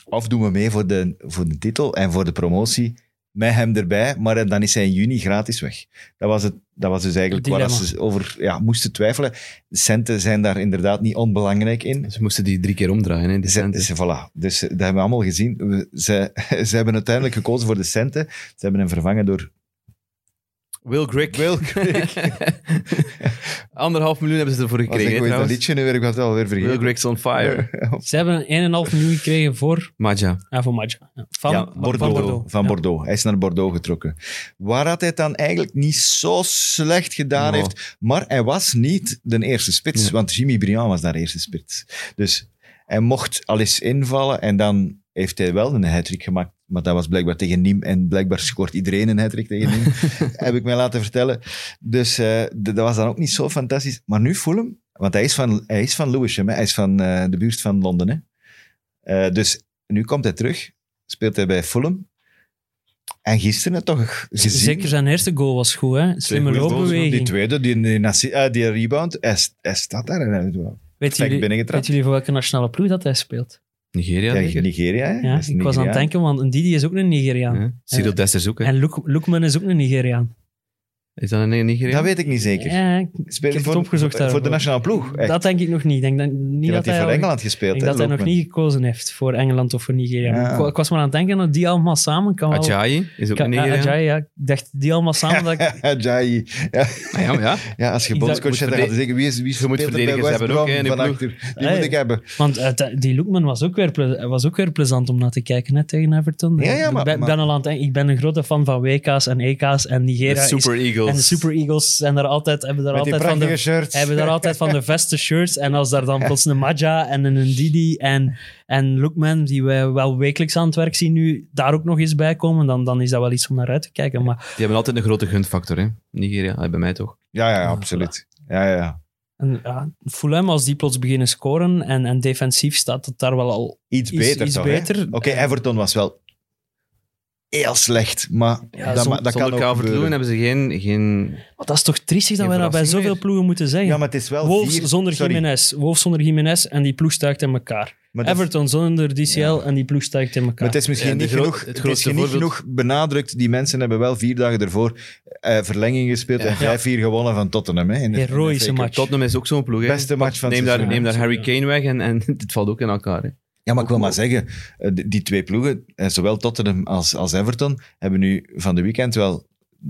S2: Of doen we mee voor de, voor de titel en voor de promotie met hem erbij, maar dan is hij in juni gratis weg. Dat was, het, dat was dus eigenlijk waar
S3: Dilemma.
S2: ze over ja, moesten twijfelen. Centen zijn daar inderdaad niet onbelangrijk in.
S4: Ze moesten die drie keer omdraaien. Hè, die
S2: Ze,
S4: centen.
S2: ze- voilà. Dus eh, dat hebben we allemaal gezien. We- Ze, ze hebben uiteindelijk gekozen voor de centen. Ze hebben hem vervangen door
S4: Will Grigg.
S2: Will
S4: Anderhalf miljoen hebben ze ervoor
S2: Wat is dat, hoe heet
S4: gekregen. hè,
S2: dat
S4: trouwens.
S2: liedje nu weer? Ik was het alweer
S4: Will
S2: vergeten.
S4: Grigg's on fire.
S3: Ze hebben een 1,5 miljoen gekregen voor,
S4: Maja.
S3: ja, voor Maja. Ja. Van,
S2: ja,
S3: van
S2: Bordeaux, van Bordeaux.
S3: Ja.
S2: Hij is naar Bordeaux getrokken. Waar had hij het dan eigenlijk niet zo slecht gedaan
S4: Nou.
S2: heeft. Maar hij was niet de eerste spits,
S4: Nee.
S2: want Jimmy Briand was daar eerste spits. Dus hij mocht al eens invallen en dan heeft hij wel een hat gemaakt. Maar dat was blijkbaar tegen Niem en blijkbaar scoort iedereen een hat tegen Niem. heb ik mij laten vertellen. Dus eh, d- dat was dan ook niet zo fantastisch. Maar nu Fulham, want hij is van, hij is van Lewisham, hè. hij is van eh, de buurt van Londen. Hè. Eh, dus nu komt hij terug, speelt hij bij Fulham. En gisteren toch gezien.
S3: Zeker zijn eerste goal was goed, hè? Slimme
S2: goede goals, Die
S3: loopbeweging.
S2: tweede, die, die, nassi- eh, die rebound, hij, s- hij staat daar en hij doet wel.
S3: Weet
S2: perfect
S3: jullie,
S2: binnengetrapt.
S3: weet jullie voor welke nationale ploeg dat hij speelt?
S4: Nigeria.
S2: Ja,
S4: zeker?
S2: Nigeria, hè?
S3: Ja,
S2: Hij is
S3: ik was aan het
S2: Nigeriaan.
S3: denken, want een Didi is ook een Nigeriaan.
S4: Ja. Cyril Dessers ook. hè.
S3: En Luk- Lukman is ook een Nigeriaan.
S4: Is dat een Nigeria?
S2: Dat weet ik niet zeker.
S3: Ja, ik-
S2: Speelt
S3: heb
S2: voor,
S3: het opgezocht
S2: voor, voor de
S3: daarvoor.
S2: nationale ploeg. Echt.
S3: dat denk ik nog niet. Ik denk dat,
S2: Ik
S3: niet
S2: denk
S3: dat,
S2: dat hij voor
S3: al-
S2: Engeland
S3: ik
S2: gespeeld
S3: denk
S2: hè,
S3: dat hij nog
S2: Lookman.
S3: niet gekozen heeft voor Engeland of voor Nigeria.
S2: Ja.
S3: Ik, ik was maar aan het denken dat die allemaal samen kan wel...
S4: Ajayi is ook
S3: kan-
S4: een Nigeria.
S3: Ah, Ajayi, ja. Ik dacht, die allemaal samen... Dat ik,
S2: Ajayi. Ja,
S4: Ah, ja, maar ja.
S2: Eh, ja, als je
S3: Ik
S2: bondscoach
S4: dacht-
S2: bent, dan gaat hij zeggen wie is wie
S4: Je moet
S2: speelt er bij
S4: verdedigers
S2: West
S4: hebben ook,
S2: Brom
S4: hè, in de
S2: van
S4: ploeg.
S2: achter? Die
S3: Hey.
S2: moet ik hebben.
S3: want eh, dat- die Lukman was ook, weer ple- was ook weer plezant om naar te kijken hè, tegen Everton.
S2: Ja, ja,
S3: Ik
S2: maar-
S3: ben-
S2: maar-
S3: ben al aan het denken, ik ben een grote fan van WK's en EK's en
S4: De
S3: Nigeria. is-
S4: Super Eagles.
S3: en de Super Eagles zijn daar altijd, hebben daar
S2: Met die
S3: altijd van de
S2: prachtige shirt.
S3: hebben daar altijd van de beste shirts. En als daar dan plots een Maja en een Ndidi en, en Lookman, die we wel wekelijks aan het werk zien nu, daar ook nog eens bij komen, dan, dan is dat wel iets om naar uit te kijken. Maar
S4: Die hebben altijd een grote gunfactor, hè? Nigeria, Ah, bij mij toch?
S2: Ja, ja, absoluut. Ja, ja, ja.
S3: en, ja, Fulham, als die plots beginnen scoren en, en defensief staat het daar wel al
S2: Iets
S3: iets
S2: beter
S3: beter. Iets
S2: toch, hè?
S3: beter.
S2: Oké, Everton was wel heel slecht, maar
S3: Ja,
S2: dat,
S3: zon-
S2: ma- dat kan
S4: Zonder
S2: ook
S4: Calvert-Lewin
S2: gebeuren.
S4: hebben ze geen... geen...
S3: Maar dat is toch triestig dat
S4: Geen
S3: we dat bij
S4: verrassing
S3: zoveel
S4: meer.
S3: ploegen moeten zeggen.
S2: Ja, maar het is wel
S3: Wolves
S2: vier-
S3: zonder
S2: sorry,
S3: Jiménez. Wolves zonder Jiménez en die ploeg stuikt in elkaar.
S2: maar dat-
S3: Everton zonder DCL en die ploeg stuikt in elkaar.
S2: Maar het is misschien
S4: Ja, de
S2: niet,
S4: gro-
S2: genoeg,
S4: het
S2: het is
S4: grootste
S2: niet
S4: voorbeeld-
S2: genoeg benadrukt. Die mensen hebben wel vier dagen ervoor eh, verlenging gespeeld en 5-4 gewonnen van Tottenham. Hè, in de- in de
S3: Heroïsche
S2: FA Cup.
S3: match.
S4: Tottenham is ook zo'n ploeg, hè?
S2: Beste match van het
S4: neem daar,
S2: seizoen.
S4: neem daar Harry
S3: Ja.
S4: Kane weg en, en dit valt ook in elkaar, hè?
S2: Ja, maar ik wil maar zeggen, eh, die die twee ploegen, eh, zowel Tottenham als, als Everton, hebben nu van de weekend wel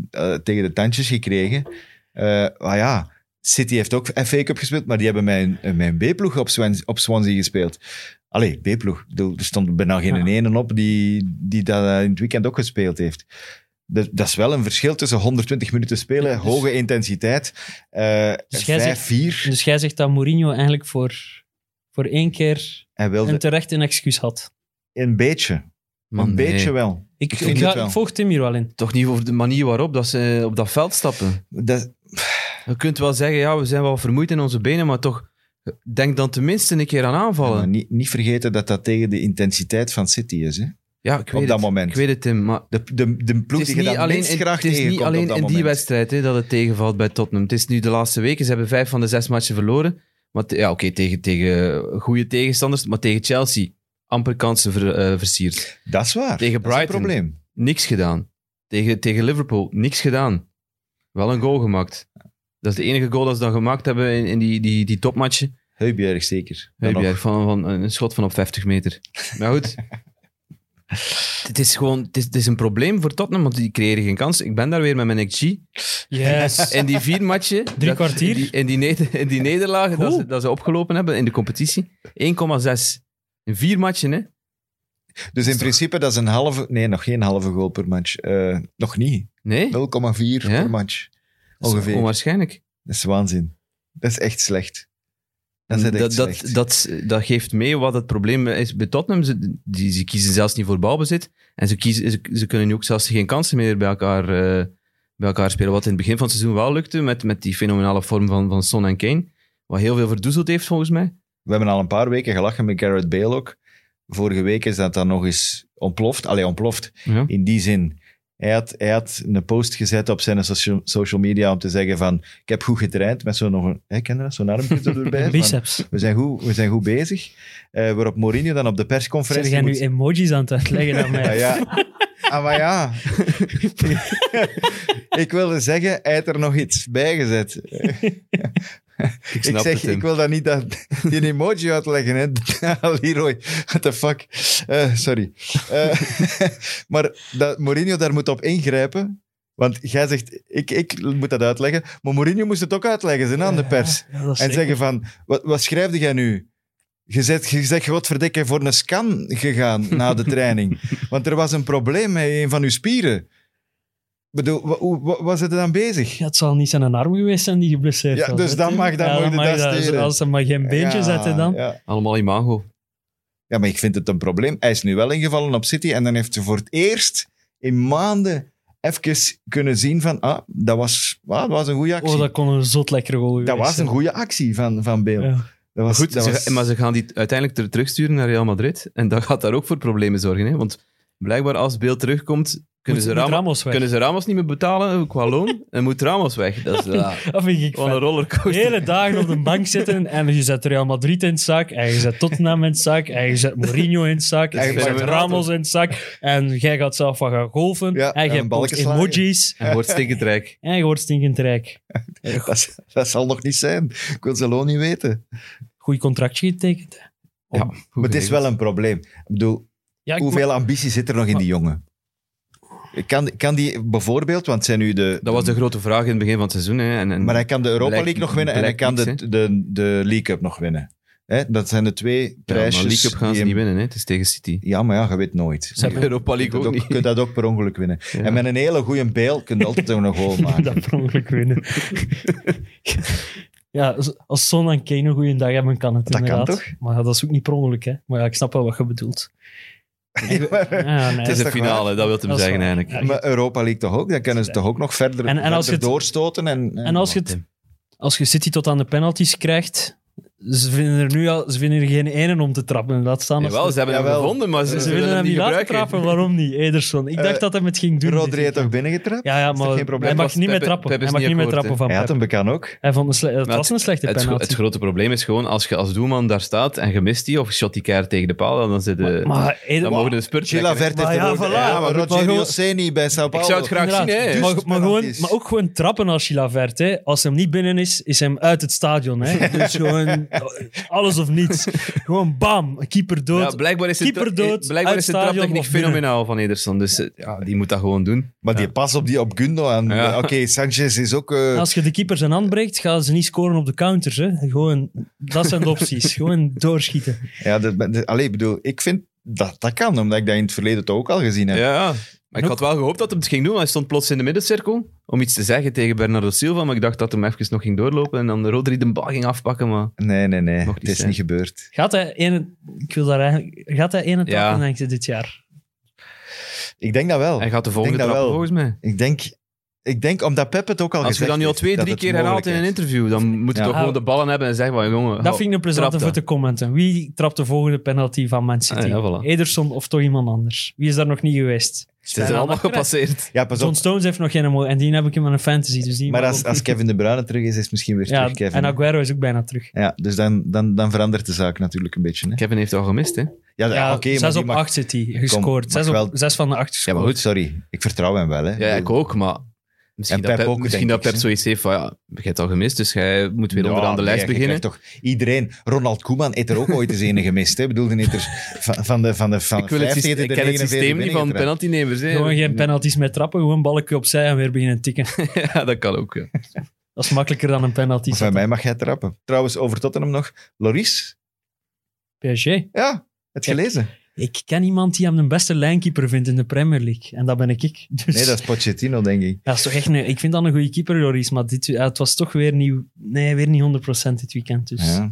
S2: eh, tegen de tandjes gekregen. Eh maar ja, City heeft ook FA Cup gespeeld, maar die hebben mijn, mijn B-ploeg op, Swan- op Swansea gespeeld. Allee, B-ploeg. Ik bedoel, Er stond bijna geen
S3: Ja.
S2: ene op die, die dat eh, in het weekend ook gespeeld heeft. Dat, dat is wel een verschil tussen 120 minuten spelen,
S3: Ja, dus-
S2: hoge intensiteit, eh
S3: Dus jij zegt-
S2: 5-4.
S3: Dus jij zegt dat Mourinho eigenlijk voor, voor één keer
S2: Hij wilde
S3: en terecht een excuus had.
S2: een beetje,
S4: Man,
S2: een
S4: nee.
S2: beetje wel.
S3: Ik,
S2: Ik
S3: ik,
S2: vind
S3: ga-
S2: het wel.
S3: ik volg Tim hier wel in.
S4: Toch niet over de manier waarop dat ze op dat veld stappen.
S2: Dat,
S4: Je kunt wel zeggen, ja, we zijn wel vermoeid in onze benen, maar toch, denk dan tenminste een keer aan
S2: Ja, maar
S4: aanvallen.
S2: niet, niet vergeten dat dat tegen de intensiteit van City is. Hè?
S4: Ja, ik weet
S2: Op dat
S4: het.
S2: moment.
S4: Ik weet het, Tim, maar...
S2: De, de, de
S4: Het
S2: ploeg
S4: is
S2: die je
S4: niet
S2: dan
S4: alleen,
S2: alleen,
S4: in,
S2: graag
S4: het is niet
S2: tegenkomt
S4: alleen
S2: op dat
S4: in die
S2: moment.
S4: wedstrijd hè, dat het tegenvalt bij Tottenham. Het is nu de laatste weken. Ze hebben vijf van de zes matchen verloren. Maar te- ja, oké, tegen, tegen goede tegenstanders. Maar tegen Chelsea amper kansen ver- eh, versierd.
S2: Dat is waar.
S4: Tegen
S2: Dat is een
S4: Brighton.
S2: probleem.
S4: Niks gedaan. Tegen, tegen Liverpool, niks gedaan. Wel een goal gemaakt. Dat is de enige goal dat ze dan gemaakt hebben in, in die, die, die topmatchen.
S2: Heubjerg zeker. Dan
S4: Heubjerg,
S2: nog.
S4: van, van een schot van op 50 meter. Maar goed. Het is gewoon het is, het is een probleem voor Tottenham, want die creëren geen kans. Ik ben daar weer met mijn XG.
S3: Yes.
S4: In die vier matchen...
S3: Drie
S4: dat-
S3: kwartier?
S4: In die, in die, neder- in die nederlagen dat
S3: Hoe?
S4: ze, dat ze opgelopen hebben in de competitie. 1,6. In vier matchen, hè.
S2: Dus in principe, dat is een halve... Nee, nog geen halve goal per match. Eh, nog niet. 0,4
S4: Nee? Dat Ja?
S2: per match.
S4: is
S2: Oh, Ongeveer.
S4: Onwaarschijnlijk.
S2: Dat is waanzin. Dat is echt slecht. Dat is echt
S4: Mm, dat, dat,
S2: slecht.
S4: dat, dat geeft mee wat het probleem is bij Tottenham. Ze, die, ze kiezen zelfs niet voor balbezit. En ze, kiezen, ze, ze kunnen nu ook zelfs geen kansen meer bij elkaar, eh, bij elkaar spelen. Wat in het begin van het seizoen wel lukte, met, met die fenomenale vorm van, van Son en Kane. Wat heel veel verdoezeld heeft, volgens mij.
S2: We hebben al een paar weken gelachen met Garrett Bale ook. Vorige week is dat dan nog eens ontploft. Allee, ontploft.
S4: Ja.
S2: In die zin. Hij had, hij had een post gezet op zijn socia- social media om te zeggen van... Ik heb goed getraind. Met zo'n nog een... Hè, ken je dat? Zo'n armpje erbij. van,
S3: Biceps.
S2: we, zijn goed, we zijn goed bezig. Eh, waarop Mourinho dan op de
S3: Zijn
S2: persconferentie...
S3: jij nu
S2: moet-
S3: emojis aan het uitleggen aan mij?
S2: Ja, ja. Ah, maar ja. ik wilde zeggen, hij had er nog iets bij gezet.
S4: Ik
S2: Ik
S4: snap
S2: zeg,
S4: het, Tim.
S2: ik wil dat niet dat, die emoji uitleggen, hè. Leroy, what the fuck. Eh, sorry. Eh, maar dat Mourinho daar moet op ingrijpen, want jij zegt, ik, ik moet dat uitleggen, maar Mourinho moest het ook uitleggen, zijn aan de pers.
S3: Ja, dat is
S2: En
S3: zeker.
S2: zeggen van, wat, wat schrijfde jij nu? Je zegt, je zegt, godverdikke, voor een scan gegaan na de training. Want er was een probleem met een van uw spieren. Ik bedoel, wa- hoe wa- was het dan bezig?
S3: Ja, het zal niet zijn een arm geweest zijn die geblesseerd
S2: Ja,
S3: was,
S2: dus
S3: hè,
S2: dan
S3: Tim?
S2: mag- dan
S3: Ja,
S2: mag je dat
S3: je Dus
S2: stelen.
S3: Als ze maar geen beentje
S2: Ja,
S3: zetten dan.
S2: Ja.
S4: Allemaal imago.
S2: Ja, maar ik vind het een probleem. Hij is nu wel ingevallen op City en dan heeft ze voor het eerst in maanden even kunnen zien van, ah, dat was, ah, dat was een goede actie.
S3: Oh, dat
S2: dat
S3: kon een zot lekkere goal geweest
S2: was
S3: zijn.
S2: een goede actie van, van Beel.
S3: Ja.
S2: Dat was,
S4: Goed,
S2: dat
S4: ze-
S2: was-
S4: maar ze gaan die uiteindelijk ter- terugsturen naar Real Madrid. En dat gaat daar ook voor problemen zorgen. Hè? Want blijkbaar als beeld terugkomt, kunnen,
S3: Moet-
S4: ze
S3: moet
S4: Ramos,
S3: Ramos weg.
S4: kunnen ze Ramos niet meer betalen qua loon. en moet Ramos weg. Dat is ja,
S3: Dat vind ik
S4: gewoon een
S3: vet.
S4: rollercoaster.
S3: Hele dagen op de bank zitten en je zet Real Madrid in het zak, en je zet Tottenham in het zak, en je zet Mourinho in het zak, en je
S2: Eigenlijk
S3: zet
S4: fenomenaal,
S3: Ramos in het zak, en jij gaat zelf wat gaan golfen,
S2: Ja,
S3: en
S2: en
S3: je hebt
S2: balken
S3: ons
S2: slagen.
S3: emojis,
S4: En wordt stinkend rijk.
S3: en je wordt stinkend rijk.
S2: dat, is- dat zal nog niet zijn. Ik wil ze al niet weten.
S3: Goed contractje getekend. hè.
S4: Ja,
S2: Maar het is wel een probleem. Ik bedoel,
S3: Ja, ik-
S2: hoeveel ambitie zit er nog in die jongen? Kan, kan die bijvoorbeeld, want het zijn nu de...
S4: Dat was de grote vraag in het begin van het seizoen. Hè. En, en
S2: Maar hij kan de Europa
S4: Blijkt-
S2: League nog winnen en hij kan
S4: blijkt
S2: de,
S4: niks,
S2: de, de League Cup nog winnen. Hè? Dat zijn de twee
S4: ja, maar
S2: prijsjes.
S4: League Cup gaan
S2: die
S4: ze
S2: hem-
S4: niet winnen. Hè. Het is tegen City.
S2: Ja, maar ja, je weet nooit.
S3: Ze hebben-
S4: Europa
S2: Je
S4: League
S2: kunt
S4: ook
S2: ook-
S4: niet.
S2: je kunt dat ook per ongeluk winnen.
S4: Ja.
S2: En met een hele goede bijl kun je altijd een goal maken.
S3: dat per ongeluk winnen. ja, als- als Son en Kane een goede dag hebben, kan het
S2: Dat kan
S3: inderdaad.
S2: toch?
S3: Maar ja, dat is ook niet per ongeluk, hè. Maar ja, ik snap wel wat je bedoelt. Ja, nee.
S4: Het is de
S2: toch
S4: finale, dat wil hem
S3: Dat is
S4: zeggen
S3: waar.
S4: eigenlijk.
S3: Ja.
S2: Maar Europa League toch ook? Dan kunnen ze toch ook nog verder,
S3: En- en als
S2: verder
S3: je het-
S2: doorstoten. En,
S3: En als je,
S4: Ja,
S3: het,
S4: Tim.
S3: als je City tot aan de penalties krijgt, ze vinden er nu al, ze vinden er geen ene om te trappen. Laat staan. als
S4: Jawel,
S3: ze,
S4: ze hebben hem
S2: Jawel.
S4: gevonden, maar ze,
S3: ze willen hem niet laten
S4: gebruiken.
S3: trappen. Waarom niet? Ederson. Ik
S2: Eh,
S3: dacht dat hij het ging doen.
S2: Rodri heeft
S3: dit
S2: toch
S3: weekend.
S2: binnengetrapt?
S3: Ja, ja,
S2: Is dat
S3: maar
S2: geen probleem?
S3: hij mag
S4: Was
S3: niet meer
S4: Pepe-
S3: trappen.
S4: Pepe is
S3: hij mag
S4: niet
S3: niet meer
S4: akkoord,
S3: trappen van
S2: Hij had
S3: Pep.
S2: hem bekan ook.
S3: Hij vond een sle- het
S4: Maar
S3: was een slechte
S4: Het, gro-
S3: penalty.
S4: het grote probleem is gewoon, als je als doelman daar staat en je mist die, of je shot die keer tegen de paal, dan, zit de,
S3: maar, maar eh, Eder-
S4: eh, dan mogen we een spurt
S2: Gila
S4: trekken, hè.
S2: Vert heeft
S3: Maar
S2: er
S3: ja,
S2: ook-
S3: voilà.
S2: ja, maar
S3: Maar
S2: Rogerio
S3: gewoon-
S2: Ceni bij Sao Paulo.
S4: Ik zou het graag zien,
S3: Inderdaad.
S4: hè.
S2: Dus-
S3: Maar, maar, gewoon,
S2: penalties.
S3: maar ook gewoon trappen als Chilavert. Hè. Als hem niet binnen is, is hem uit het stadion. Hè. Dus gewoon alles of niets. Gewoon bam, keeper dood.
S4: Ja, blijkbaar is het,
S3: Keeper dood,
S4: blijkbaar
S3: uit
S4: is de
S3: stadion
S4: traptechniek
S3: of binnen.
S4: fenomenaal van Ederson, dus eh, ja, die moet dat gewoon doen.
S2: Maar die pas op die op Gundogan.
S4: Ja.
S2: Oké, Sanchez is ook... eh,
S3: Als je de keeper zijn hand breekt, gaan ze niet scoren op de counters. Hè. Gewoon, dat zijn de opties. gewoon doorschieten.
S2: Ja, dat, dat- allee, ik bedoel, ik vind dat dat kan, omdat ik dat in het verleden toch ook al gezien
S4: Ja,
S2: heb.
S4: ja. Maar ik had wel gehoopt dat hij het ging doen, want hij stond plots in de middencirkel om iets te zeggen tegen Bernardo Silva, maar ik dacht dat hem even nog ging doorlopen en dan Rodri de bal ging afpakken, maar...
S2: Nee, nee, nee.
S4: Nog
S2: Het
S4: niet
S2: is
S4: zijn.
S2: niet gebeurd.
S3: Gaat hij ene, ik wil daar eigenlijk, gaat hij ene
S4: Ja.
S3: trappen, denk je, dit jaar?
S2: Ik denk dat wel.
S4: Hij gaat de volgende
S2: dat
S4: trap
S2: wel.
S4: volgens mij.
S2: Ik denk, ik denk omdat Pep het ook al
S4: Als je
S2: gezegd
S4: dat nu al
S2: heeft,
S4: twee,
S2: dat
S4: drie
S2: het
S4: keer herhaalt in
S2: mogelijk
S4: een
S2: is.
S4: interview, dan moet je
S2: Ja.
S4: toch gewoon
S3: Ah.
S4: de ballen hebben en zeggen van, jongen...
S3: dat vind ik een plezante
S4: Oh, trap
S3: voor
S4: dat.
S3: te commenten. Wie trapt de volgende penalty van Man City?
S4: Ah, ja, voilà.
S3: Ederson of toch iemand anders? Wie is daar nog niet geweest?
S4: Het is er allemaal gepasseerd.
S2: Ja, pas
S3: John
S2: op.
S3: Stones heeft nog geen mooi. En die heb ik in mijn fantasy. Dus die
S2: Maar
S3: mag
S2: als,
S3: ook-
S2: als Kevin De Bruyne terug is, is het misschien weer
S3: ja,
S2: terug Kevin.
S3: En Aguero is ook bijna terug.
S2: Ja, dus dan, dan, dan verandert de zaak natuurlijk een beetje. Hè?
S4: Kevin heeft het al gemist, hè?
S2: Ja,
S3: Ja,
S2: oké, maar
S3: zes
S2: die
S3: op
S2: mag-
S3: 8 zit hij gescoord.
S2: mag
S3: Zes, op,
S2: wel-
S3: zes van de 8
S2: Ja,
S3: gescoord.
S2: maar goed, sorry. Ik vertrouw hem wel. Hè.
S4: Ja, ik ook, maar... Misschien
S2: En
S4: dat
S2: Pep
S4: Pep,
S2: ook,
S4: misschien
S2: denk
S4: dat
S2: ik,
S4: Pep zoiets heeft van, ja, je hebt al gemist, dus jij moet weer
S2: Ja,
S4: onderaan de
S2: nee,
S4: lijst
S2: je
S4: beginnen.
S2: krijgt Toch iedereen. Ronald Koeman heeft er ook ooit eens ene gemist. Hè? Ik bedoel, die heeft er van, van de van de van
S4: Ik, wil het
S2: 50
S4: systeem,
S2: de
S4: ik ken
S2: 49
S4: het systeem niet van
S2: binnengetrapt.
S4: penaltynemers, hè?
S3: Gewoon geen penalties meer trappen, gewoon balken opzij en weer beginnen tikken.
S4: Ja, dat kan ook, ja.
S3: Dat is makkelijker dan een penalty.
S2: Of bij mij mag jij trappen. Trouwens, over Tottenham nog. Loris?
S3: PSG.
S2: Ja, het
S3: Kijk.
S2: gelezen.
S3: Ik ken iemand die hem de beste lijnkeeper vindt in de Premier League. En dat ben ik. ik. Dus
S2: Nee, dat is Pochettino, denk ik.
S3: dat is toch echt een, ik vind dat een goede keeper, Joris. Maar dit, ja, het was toch weer niet, nee, weer niet 100% dit weekend. Dus.
S2: Ja.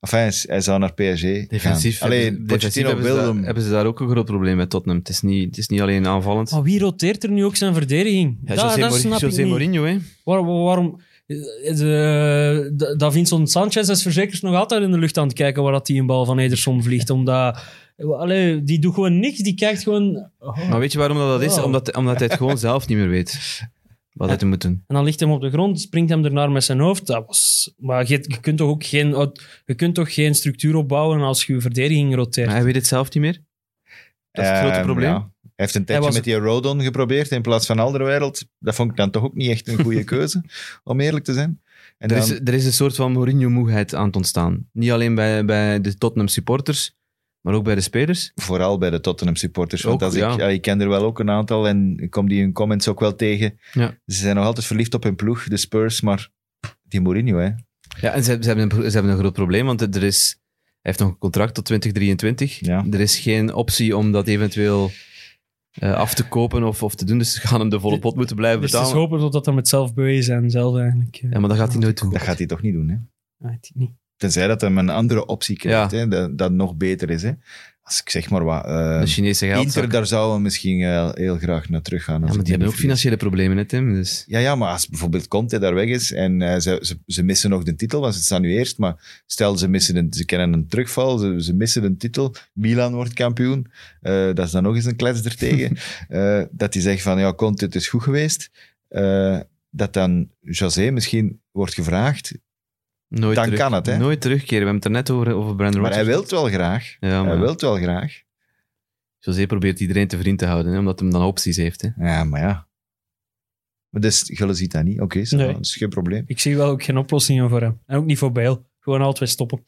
S2: Of hij, is- hij zou naar PSG
S4: Defensief,
S2: gaan. Allee,
S4: hebben- defensief
S2: Pochettino
S4: hebben, ze
S2: wil
S4: daar,
S2: hem.
S4: hebben ze daar ook een groot probleem met Tottenham. Het is niet, het is niet alleen aanvallend.
S3: Maar wie roteert er nu ook zijn verdediging?
S4: Ja,
S3: Oh, dat,
S4: José,
S3: dat
S4: Mourinho-
S3: snap ik
S4: José
S3: niet.
S4: Mourinho, hè?
S3: Waar- waarom? eh, De, de- Davinson Sanchez is verzekerd nog altijd in de lucht aan het kijken waar dat die een bal van Ederson vliegt. Omdat, allee, die doet gewoon niks. Die kijkt gewoon. oh.
S4: Maar weet je waarom dat, dat is?
S3: Wow.
S4: Omdat, omdat hij het gewoon zelf niet meer weet. Wat hij te moet doen.
S3: En dan ligt hem op de grond, springt hem ernaar met zijn hoofd. Dat was, maar je, je kunt toch ook geen, uit- je kunt toch geen structuur opbouwen als je je verdediging roteert.
S4: Maar hij weet het zelf niet meer. Dat is het grote
S2: Ehm,
S4: probleem.
S2: ja. Hij heeft een tijdje
S3: was-
S2: met die Rodon geprobeerd in plaats van Alderwereld. Dat vond ik dan toch ook niet echt een goede keuze, om eerlijk te zijn. En
S4: Er
S2: dan,
S4: is, er is een soort van Mourinho-moeheid aan het ontstaan. Niet alleen bij, bij de Tottenham supporters, maar ook bij de spelers.
S2: vooral bij de Tottenham supporters. Want
S4: Ook,
S2: als ik,
S4: ja.
S2: ja. ik ken er wel ook een aantal en ik kom die hun comments ook wel tegen.
S4: Ja.
S2: Ze zijn nog altijd verliefd op hun ploeg, de Spurs, maar die Mourinho, hè.
S4: Ja, en ze, ze, hebben, een, ze hebben een groot probleem, want er is, hij heeft nog een contract tot 2023.
S2: Ja.
S4: Er is geen optie om dat eventueel eh, af te kopen of, of te doen. Dus ze gaan hem de volle pot moeten blijven
S3: dus het is
S4: betalen.
S3: hopen totdat hem het zelf bewezen en zelf eigenlijk. eh,
S4: ja, maar dat gaat hij nooit doen.
S2: Dat gaat hij toch niet doen, hè.
S3: ah, weet ik niet.
S2: Tenzij dat hij een andere optie krijgt,
S4: Ja.
S2: hè, dat, dat nog beter is, hè. Als ik zeg maar wat... eh,
S4: De Chinese geld.
S2: Inter, daar zouden we misschien eh, heel graag naar terug gaan.
S4: Ja, maar die hebben ook financiële problemen, hè, Tim. Dus.
S2: Ja, ja, maar als bijvoorbeeld Conte daar weg is en eh, ze, ze, ze missen nog de titel, want ze staan nu eerst, maar stel ze, missen een, ze kennen een terugval, ze, ze missen een titel, Milan wordt kampioen, eh, dat is dan nog eens een klets ertegen, eh, dat die zegt van, ja, Conte, het is goed geweest, eh, dat dan José misschien wordt gevraagd,
S4: Nooit
S2: Dan
S4: terug-
S2: kan het, hè.
S4: Nooit terugkeren. We hebben het er net over, over Brandon
S2: maar hij
S4: Rodgers.
S2: wil het wel graag.
S4: Ja, maar
S2: Hij wil het wel graag.
S4: José probeert iedereen te vriend te houden, hè, omdat hij dan opties heeft. Hè.
S2: Ja, maar ja. Maar dus, Gulle ziet dat niet, oké, ça va,
S3: Nee.
S2: dat is geen probleem.
S3: Ik zie wel ook geen oplossingen voor hem. En ook niet voor Bale. Gewoon altijd stoppen.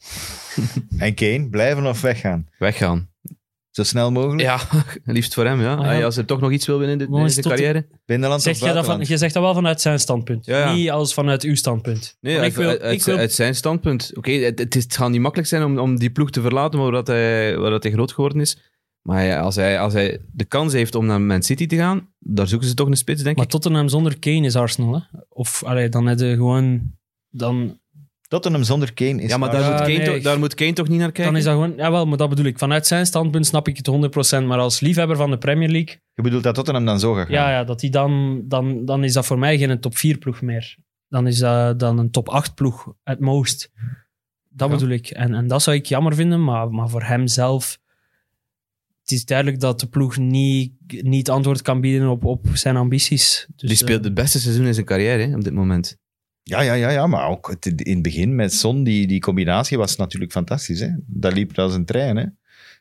S2: En Kane, blijven of weggaan?
S4: Weggaan.
S2: Zo snel mogelijk?
S4: Ja, liefst voor hem, ja.
S3: Ah, ja.
S4: Hij- Als hij toch nog iets wil winnen in, dit-
S3: Maar
S4: in
S3: is
S4: zijn
S3: tot-
S4: carrière.
S2: Binnenland
S3: Zeg
S2: of
S3: jij dat
S2: buitenland?
S3: van, je zegt dat wel vanuit zijn standpunt.
S4: Ja, ja.
S3: Niet als vanuit uw standpunt.
S4: Nee,
S3: Want
S4: uit,
S3: ik wil,
S4: uit,
S3: ik wil,
S4: uit zijn standpunt. Oké, het, het, is- het gaat niet makkelijk zijn om, om die ploeg te verlaten waar, dat hij, waar dat hij groot geworden is. Maar hij- als, hij, als hij de kans heeft om naar Man City te gaan, daar zoeken ze toch een spits, denk
S3: maar
S4: ik.
S3: Tottenham zonder Kane is Arsenal. Hè? Of allee, dan heb je gewoon. Dan,
S2: Tottenham zonder Kane is...
S4: Ja, maar daar,
S3: Ja,
S4: moet Kane
S3: Ah, nee,
S4: toch,
S3: ik-
S4: daar moet Kane toch niet naar kijken?
S3: dan is dat gewoon. Jawel, maar dat bedoel ik. Vanuit zijn standpunt snap ik het 100%. Maar als liefhebber van de Premier League.
S2: Je bedoelt dat Tottenham dan zo gaat gaan?
S3: Ja, ja dat die dan, dan, dan is dat voor mij geen top 4 ploeg meer. Dan is dat dan een top 8 ploeg, at most. Dat
S4: Ja.
S3: bedoel ik. En, en dat zou ik jammer vinden, maar, maar voor hem zelf. Het is duidelijk dat de ploeg niet, niet antwoord kan bieden op, op zijn ambities. Dus,
S4: Die
S3: eh,
S4: speelt het beste seizoen in zijn carrière hè, op dit moment.
S2: ja, ja, ja, ja, maar ook het, in het begin met Son, die, die combinatie was natuurlijk fantastisch. Hè? Dat liep als een trein. Hè?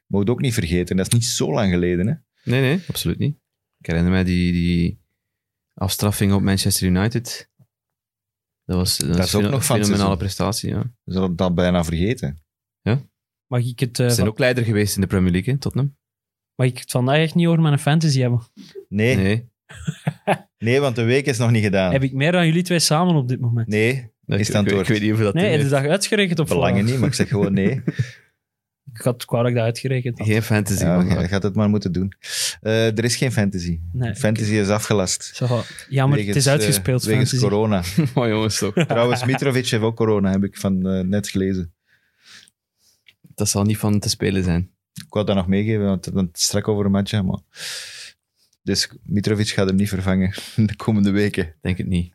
S2: Moet je ook niet vergeten, dat is niet zo lang geleden. Hè?
S4: Nee, nee, absoluut niet. Ik herinner mij die, die afstraffing op Manchester United. Dat was, dat
S2: is ook
S4: feno-
S2: nog van het
S4: fenomenale
S2: seizoen.
S4: prestatie. Ja.
S2: We zullen dat bijna vergeten.
S3: Mag ik het, eh,
S4: Ze zijn
S3: van-
S4: ook leider geweest in de Premier League, hè, Tottenham.
S3: mag ik het vandaag echt niet over mijn fantasy hebben?
S2: Nee, nee.
S4: Nee.
S2: want de week is nog niet gedaan.
S3: Heb ik meer dan jullie twee samen op dit moment?
S2: Nee, Is
S4: Dat- ik-
S2: het
S4: ik,
S2: antwoord?
S4: ik weet niet of dat
S3: Nee,
S4: Tim
S3: heb je
S4: heeft.
S3: dat uitgerekend op
S2: verlangen
S3: voorhand?
S2: niet, maar ik zeg gewoon nee.
S3: Ik had kwaad dat ik dat uitgerekend had.
S4: Geen fantasy.
S2: Ja,
S4: man.
S2: je gaat het maar moeten doen. Eh, er is geen fantasy.
S3: Nee,
S2: Fantasy is afgelast.
S3: Zo, jammer, het
S2: Wegens,
S3: is
S2: eh,
S3: uitgespeeld.
S2: wegens
S3: fantasy.
S2: corona.
S4: Maar jongens, toch.
S2: Trouwens, Mitrovic heeft ook corona, heb ik van eh, net gelezen.
S4: Dat zal niet van te spelen zijn.
S2: Ik wou dat nog meegeven, want het het is strak over een matje. Maar... Dus Mitrovic gaat hem niet vervangen in de komende weken.
S4: Denk het niet.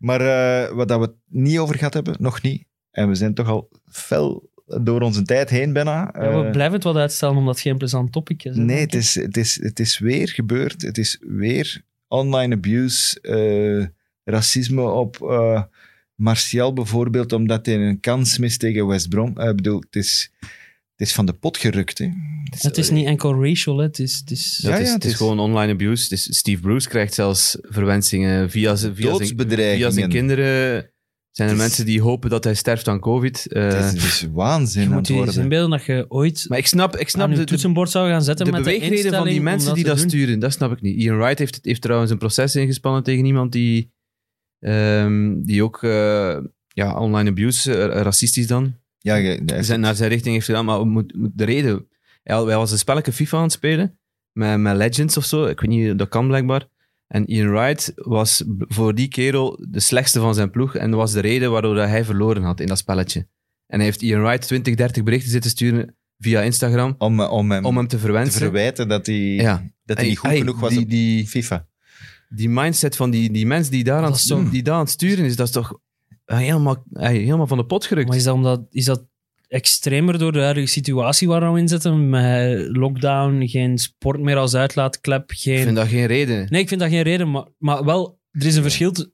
S2: Maar eh, wat dat we het niet over gehad hebben, nog niet. En we zijn toch al fel door onze tijd heen bijna.
S3: ja, we
S2: Eh,
S3: blijven het wat uitstellen omdat het geen plezant topic is. hè,
S2: Nee,
S3: denk
S2: het
S3: ik.
S2: is, het, is, het is weer gebeurd. Het is weer online abuse, eh, racisme op eh Martial bijvoorbeeld, omdat hij een kans mist tegen West Brom. Eh, Ik bedoel, het is, het is van de pot gerukt. Hè.
S3: Het is niet enkel racial, hè. het is... Het is
S2: Ja,
S4: Dat is,
S2: ja,
S4: het
S2: het
S4: is
S2: is-
S4: gewoon online abuse. Het is- Steve Bruce krijgt zelfs verwensingen via, zijn- via, zijn, via
S2: Doodsbedreigingen.
S4: zijn kinderen. Zijn er
S2: Het is-
S4: mensen die hopen dat hij sterft aan COVID? Eh,
S2: Het is, het is waanzin
S3: je
S2: aan
S3: moet
S2: het
S3: je eens
S2: worden.
S3: inbeelden dat je ooit
S4: maar ik snap, ik
S3: aan
S4: snap
S3: je
S4: de, de,
S3: toetsenbord zou gaan zetten
S4: de
S3: met de
S4: beweegreden van die
S3: instelling om
S4: mensen die
S3: te
S4: dat
S3: doen.
S4: sturen. Dat snap ik niet. Ian Wright heeft, heeft trouwens een proces ingespannen tegen iemand die, ehm, die ook eh, ja, online abuse, eh, racistisch dan,
S2: Ja, je- nee,
S4: zijn, naar zijn richting heeft gedaan. Maar moet, moet de reden... Hij, hij was een spelletje FIFA aan het spelen, met, met Legends of zo. Ik weet niet, dat kan blijkbaar. En Ian Wright was b- voor die kerel de slechtste van zijn ploeg. En dat was de reden waardoor dat hij verloren had in dat spelletje. En hij heeft Ian Wright 20, 30 berichten zitten sturen via Instagram
S2: om, om hem
S4: om hem te
S2: te
S4: verwensen.
S2: verwijten dat hij,
S4: ja.
S2: dat hij
S4: Ey,
S2: niet goed
S4: ey,
S2: genoeg was
S4: die-
S2: op FIFA.
S4: Die mindset van die, die mensen die daar, aan,
S3: Dat is toch-
S4: die daar aan het sturen is, dat is toch eh, helemaal, ey, helemaal van de pot gerukt.
S3: Maar is dat, omdat, is dat extremer door de huidige situatie waar we in zitten? Met lockdown, geen sport meer als uitlaatklep,
S4: Ik
S3: geen...
S4: vind dat geen reden.
S3: Nee, ik vind dat geen reden, maar, maar wel, er is een verschil. te- Dat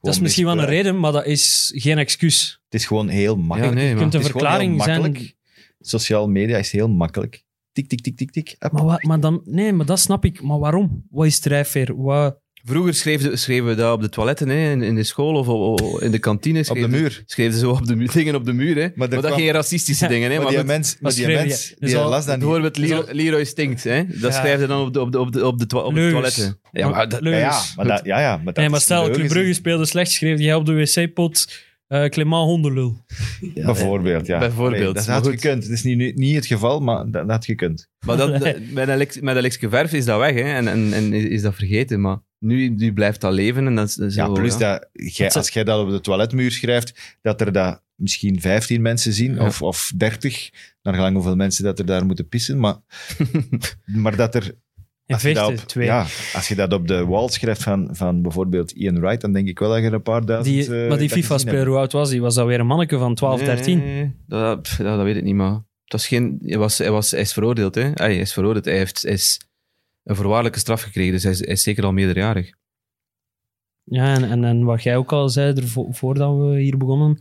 S3: is
S2: Gewoon
S3: misschien wel een
S2: misbruik.
S3: reden, maar dat is geen excuus.
S2: Het is gewoon heel makkelijk.
S4: nee,
S3: Je
S4: maar-
S3: kunt een
S2: Het is gewoon heel
S3: verklaring zijn...
S2: makkelijk. Sociale media is heel makkelijk. Tik, tik, tik, tik, tik. Hup.
S3: Maar, wa- maar dan, nee, maar dat snap ik. Maar waarom? Wat is drijfveer? Wat,
S4: Vroeger schreven, schreven we dat op de toiletten, hè, in, in de school of o- o- in de kantine.
S2: op de
S4: Schreven,
S2: muur.
S4: Schreven ze op de muur, dingen op de muur. Hè. Maar,
S2: er
S4: dat
S2: kwam-
S4: geen racistische
S3: Ja,
S4: dingen. Hè,
S2: maar,
S4: maar
S2: die
S4: goed,
S2: mens, maar die
S3: schreef je?
S2: mens,
S3: Dus
S2: die
S3: al-
S2: las dat niet.
S4: bijvoorbeeld Leroy,
S3: dat
S4: Leroy Stinkt. Hè. Dat
S3: Ja.
S4: schrijven ze dan op de, op de, op de, op de, toa- op de
S3: Leugens.
S4: toiletten. Ja, maar dat,
S2: Ja,
S3: leugens.
S2: ja, maar dat, ja, ja, maar dat
S3: nee, maar
S2: is
S3: stel,
S2: leugens.
S3: Club Brugge speelde slecht, schreef jij op de wc-pot eh Clément Hondelul.
S2: Ja, bijvoorbeeld, ja.
S4: Bijvoorbeeld,
S2: Allee, dat
S4: maar
S2: had
S4: goed.
S2: gekund. Het is niet, niet- niet het geval, maar dat, dat had gekund.
S4: maar dat, dat- met, Alex, met Alex Verf is dat weg hè, en, en, en is dat vergeten. Maar nu, nu blijft dat leven. En dat, is- dat is
S2: Ja,
S4: zo,
S2: plus
S4: ja.
S2: dat, jij,
S3: Dat ze-
S2: als jij dat op de toiletmuur schrijft, dat er dat misschien 15 mensen zien,
S4: Ja.
S2: of, of 30, naar gelang hoeveel mensen dat er daar moeten pissen. Maar, maar dat er
S3: En
S2: je dat
S3: vechten,
S2: op-
S3: twee.
S2: Ja, als je dat op de wall schrijft van, van bijvoorbeeld Ian Wright, dan denk ik wel dat je er een paar duizend...
S3: die,
S2: eh,
S3: maar die
S2: dat gezien
S3: FIFA-speler, hoe oud was hij? Was dat weer een manneke van 12,
S4: Nee,
S3: 13?
S4: nee, nee. Dat, pff, ja, dat weet ik niet, maar het was geen, hij, was, hij, was, hij is veroordeeld. Hè? Ah, Hij is veroordeeld. Hij heeft hij is een voorwaardelijke straf gekregen, dus hij is, hij is zeker al meerderjarig.
S3: Ja, en, en, en wat jij ook al zei, ervo- voordat we hier begonnen,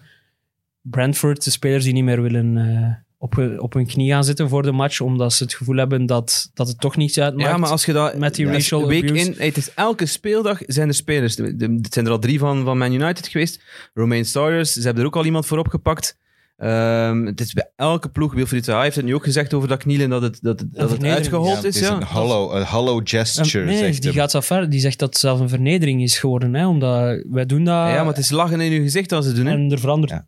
S3: Brentford, de spelers die niet meer willen eh, op, hun- op hun knie gaan zitten voor de match, omdat ze het gevoel hebben dat, dat het toch niets uitmaakt.
S4: Ja, maar als je dat...
S3: Met die
S4: als-
S3: racial
S4: week
S3: abuse.
S4: in, het is elke speeldag zijn er spelers. De- de- Het zijn er al drie van, van Man United geweest. Romain Sawyers, ze hebben er ook al iemand voor opgepakt. Ehm, het is bij elke ploeg. Wilfried Zaha heeft het nu ook gezegd over dat knielen, dat het, dat het, dat het
S3: vernedering.
S2: hebben.
S4: uitgehold
S2: Ja,
S4: is.
S2: het is
S4: ja.
S2: een hollow, een hollow
S3: En-
S2: gesture,
S3: nee,
S2: zegt
S3: die
S2: hem.
S3: gaat zo ver. Die zegt dat het zelf een vernedering is geworden. Hè, omdat wij doen dat
S4: ja, maar het is lachen in je gezicht als ze het doen. Hè?
S3: en er verandert,
S2: Ja.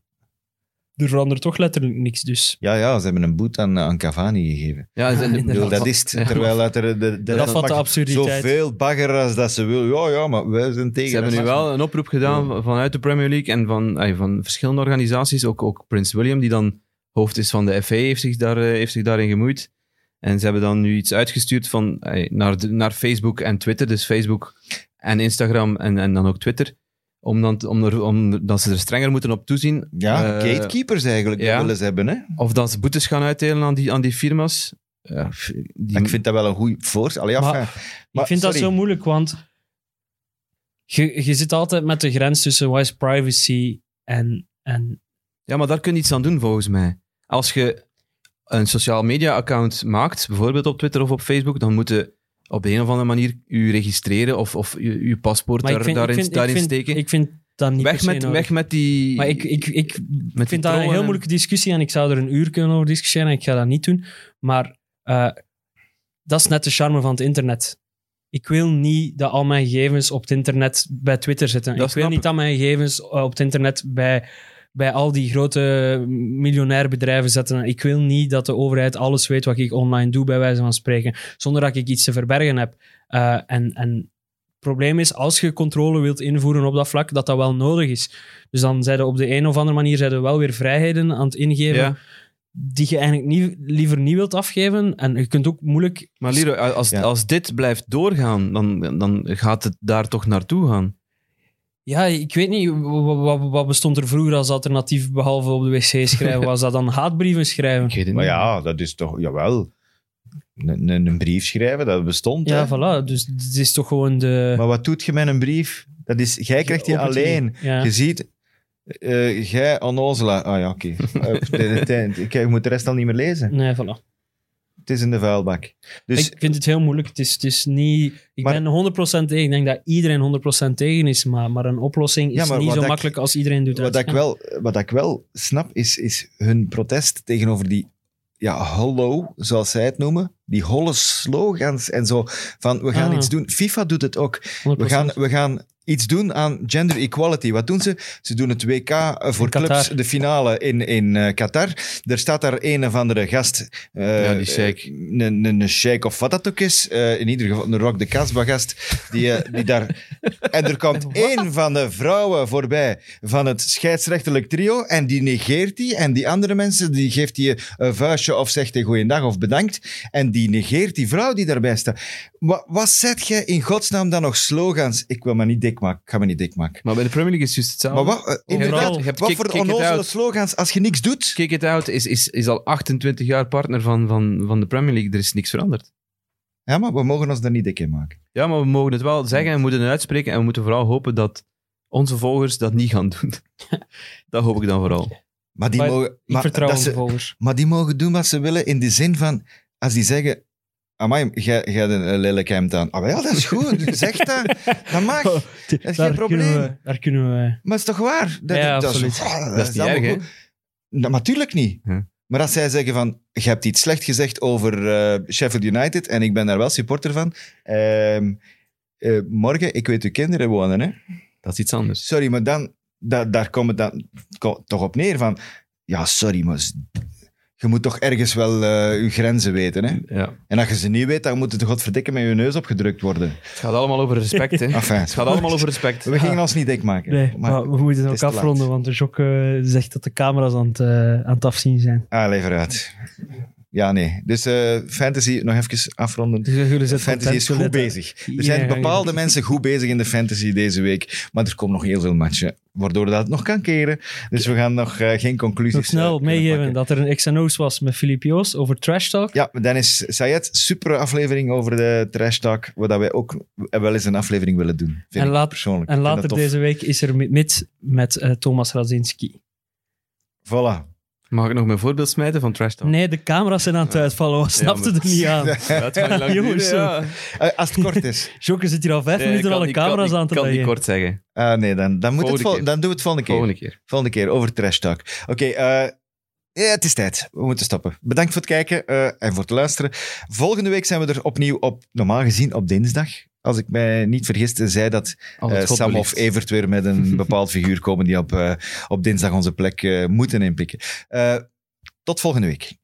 S3: er verandert toch letterlijk niks. Dus
S2: Ja, ja, ze hebben een boet aan, aan Cavani gegeven.
S4: Ja, ze-
S2: Ik bedoel,
S3: inderdaad.
S2: dat is het. Terwijl dat er de, de
S3: dat
S2: rest
S3: vat de
S2: mag
S3: absurditeit.
S2: zoveel bagger als dat ze wil. Ja, ja, maar wij zijn tegen.
S4: Ze hebben nu
S2: racisme.
S4: wel een oproep gedaan van- vanuit de Premier League en van, ay, van verschillende organisaties. Ook, ook Prins William, die dan hoofd is van de FA, heeft zich, daar, eh, heeft zich daarin gemoeid. En ze hebben dan nu iets uitgestuurd van, ay, naar, de- naar Facebook en Twitter. Dus Facebook en Instagram en, en dan ook Twitter. Om dan, te- om er, om, dat ze er strenger moeten op toezien.
S2: Ja,
S4: Eh,
S2: gatekeepers eigenlijk
S4: ja.
S2: die willen ze hebben. Hè?
S4: Of dat ze boetes gaan uitdelen aan die, aan die firma's. Ja, f- die-
S2: Ik vind dat wel een goed voorstel. Allee,
S3: Maar-
S2: enfin,
S3: ik vind dat
S2: sorry.
S3: zo moeilijk, want je, je zit altijd met de grens tussen wat is privacy en, en
S4: Ja, maar daar kun je iets aan doen volgens mij. Als je een social media account maakt, bijvoorbeeld op Twitter of op Facebook, dan moet je op de een of andere manier je registreren of, of je, je paspoort
S3: Maar
S4: daar,
S3: ik vind,
S4: daarin,
S3: ik vind,
S4: daarin
S3: ik vind,
S4: steken.
S3: Ik vind dat niet per
S4: weg,
S3: se
S4: met,
S3: nodig.
S4: weg met die.
S3: Maar ik, ik, ik
S4: met
S3: vind dat een heel moeilijke discussie en ik zou er een uur kunnen over discussiëren en ik ga dat niet doen. Maar eh, dat is net de charme van het internet. Ik wil niet dat al mijn gegevens op het internet bij Twitter zitten.
S4: Dat
S3: ik wil
S4: snap
S3: niet
S4: ik.
S3: dat mijn gegevens eh, op het internet bij, bij al die grote miljonair bedrijven zitten. Ik wil niet dat de overheid alles weet wat ik online doe, bij wijze van spreken, zonder dat ik iets te verbergen heb. Eh, en, en het probleem is, als je controle wilt invoeren op dat vlak, dat dat wel nodig is. Dus dan zijn er op de een of andere manier zijn er wel weer vrijheden aan het ingeven
S4: Ja,
S3: die je eigenlijk niet, liever niet wilt afgeven. En je kunt ook moeilijk...
S4: maar Leroy, als,
S2: Ja.
S4: als dit blijft doorgaan, dan, dan gaat het daar toch naartoe gaan.
S3: Ja, ik weet niet, wat, wat, wat bestond er vroeger als alternatief behalve op de wc schrijven? Was dat dan haatbrieven schrijven?
S4: Ik weet het
S2: Maar
S4: niet.
S2: ja, dat is toch, jawel. Een, een, een brief schrijven, dat bestond. hè.
S3: Ja, voilà. Dus het is toch gewoon de...
S2: Maar wat doet je met een brief? Dat is, jij krijgt die
S3: Op het
S2: alleen.
S3: idee. Ja.
S2: Je ziet, eh, jij onnozela. Ah ja, oké. Eh, de- de- de- de- Kijk, je moet de rest al niet meer lezen.
S3: Nee, voilà.
S2: Het is in de vuilbak. Dus
S3: ik vind het heel moeilijk. Het is, het is niet... Ik
S2: Maar-
S3: ben 100% tegen. Ik denk dat iedereen 100% tegen is. Maar, maar een oplossing is
S2: Ja, maar
S3: niet
S2: wat
S3: zo
S2: ik-
S3: makkelijk als iedereen doet.
S2: wat, ik
S3: uitgaan.
S2: wel, wat ik wel snap, is, is hun protest tegenover die ja, hollow, zoals zij het noemen. Die holle slogans en zo. Van, we gaan
S3: Ah.
S2: iets doen. FIFA doet het ook. We
S3: 100%.
S2: gaan, we gaan iets doen aan gender equality. Wat doen ze? Ze doen het WK voor
S3: Qatar.
S2: clubs, de finale in, in eh, Qatar. Er staat daar een of andere gast. eh,
S4: Ja, die sheik.
S2: eh, Een een- een sheik of wat dat ook is. Eh, in ieder geval een Rock de Casbah-gast. Die, eh, die daar... En er komt één van de vrouwen voorbij van het scheidsrechterlijk trio. En die negeert die. En die andere mensen, die geeft die een vuistje of zegt een goeiedag of bedankt. En die negeert die vrouw die daarbij staat. Wat, wat zet jij in godsnaam dan nog slogans? Ik wil me niet dik maken. Ik ga me niet dik maken.
S4: Maar bij de Premier League is het juist hetzelfde.
S2: Maar wat, eh,
S3: Overal.
S2: inderdaad,
S4: Nou, Je hebt
S2: wat
S4: kick-
S2: voor
S4: kick it
S2: onnozele
S4: out.
S2: slogans als je niks doet?
S4: Kick It Out is, is, is al 28 jaar partner van, van, van de Premier League. Er is niks veranderd.
S2: Ja, maar we mogen ons daar niet dik in maken.
S4: Ja, maar we mogen het wel zeggen en we moeten het uitspreken. En we moeten vooral hopen dat onze volgers dat niet gaan doen. dat hoop ik dan vooral.
S2: Maar die,
S3: Maar
S2: mogen,
S3: Ik
S2: maar,
S3: vertrouw
S2: dat
S3: onze
S2: ze,
S3: volgers.
S2: maar die mogen doen wat ze willen in de zin van... Als die zeggen... Amai, jij jij hebt een eh, lelijk hemd aan. Ah, wel, ja, dat is goed. zeg dat. Dat mag. Dat is geen probleem.
S3: Kunnen we, daar kunnen we...
S2: Maar het is toch waar? Dat,
S3: Ja,
S2: dat
S3: absoluut.
S2: Is, Ah, dat,
S4: Dat is
S2: is
S4: niet
S2: allemaal
S4: erg, hè?
S2: goed. Nou, natuurlijk niet.
S4: Hm.
S2: Maar als zij zeggen van, je hebt iets slecht gezegd over eh, Sheffield United en ik ben daar wel supporter van. Ehm, eh, morgen, ik weet uw kinderen wonen, hè.
S4: Dat is iets anders.
S2: Sorry, maar dan, da- daar komt het dan ko- toch op neer van, ja, sorry, maar s- je moet toch ergens wel eh je grenzen weten, hè.
S4: Ja.
S2: En als je ze niet weet, dan moet het godverdikke met je neus opgedrukt worden.
S4: Het gaat allemaal over respect, hè.
S2: Enfin,
S4: Het gaat allemaal over respect.
S2: we gingen ons niet dik maken.
S3: Nee, maar, we moeten
S2: het
S3: het
S2: is
S3: ook
S2: te laat.
S3: afronden, want de Jok eh, zegt dat de camera's aan het, eh, aan het afzien zijn.
S2: Ah, lever uit. Ja, nee. Dus eh, fantasy, nog even afronden.
S3: Dus jullie zijn
S2: fantasy
S3: content,
S2: is goed
S3: jullie-
S2: bezig. Er
S3: Iedereen
S2: zijn
S3: gaat-
S2: bepaalde mensen goed bezig in de fantasy deze week. Maar er komen nog heel veel matchen, waardoor dat nog kan keren. Dus we gaan nog eh, geen conclusies
S3: Nog snel
S2: eh, kunnen
S3: meegeven
S2: pakken.
S3: dat er een XNO's was met Filip Joos over trash talk.
S2: Ja, Dennis Sayed, super aflevering over de trash talk. Wat dat wij ook wel eens een aflevering willen doen. Vind
S3: En
S2: ik
S3: laat-
S2: persoonlijk.
S3: En
S2: Ik vind
S3: later
S2: dat tof.
S3: deze week is er Mid met eh, Thomas Radzinski.
S2: Voilà.
S4: Ah. Mag ik nog mijn voorbeeld smijten van Trash Talk?
S3: Nee, de camera's zijn aan het uitvallen. We snapten
S4: maar-
S3: er niet aan.
S4: Dat gaat niet lang duren,
S3: Jongens,
S4: ja.
S2: Eh, als het kort is.
S3: Jokke zit hier al vijf
S4: Nee, ik
S3: minuten
S4: kan
S3: alle
S4: niet-
S3: camera's
S4: kan,
S3: aan
S4: niet-
S3: te
S4: kan niet
S3: leggen.
S4: kort zeggen.
S2: Ah, nee, dan, dan, moet het
S4: Volgende
S2: vol-
S4: keer.
S2: dan doen we het volgende keer.
S4: Volgende keer.
S2: Volgende keer over trash talk. Oké, eh, ja, het is tijd. We moeten stoppen. Bedankt voor het kijken eh, en voor het luisteren. Volgende week zijn we er opnieuw op, normaal gezien op dinsdag. Als ik mij niet vergis, zei dat
S4: Als het
S2: eh,
S4: God
S2: Sam
S4: belieft.
S2: of Evert weer met een bepaald figuur komen die op, eh, op dinsdag onze plek eh, moeten inpikken. Eh, tot volgende week.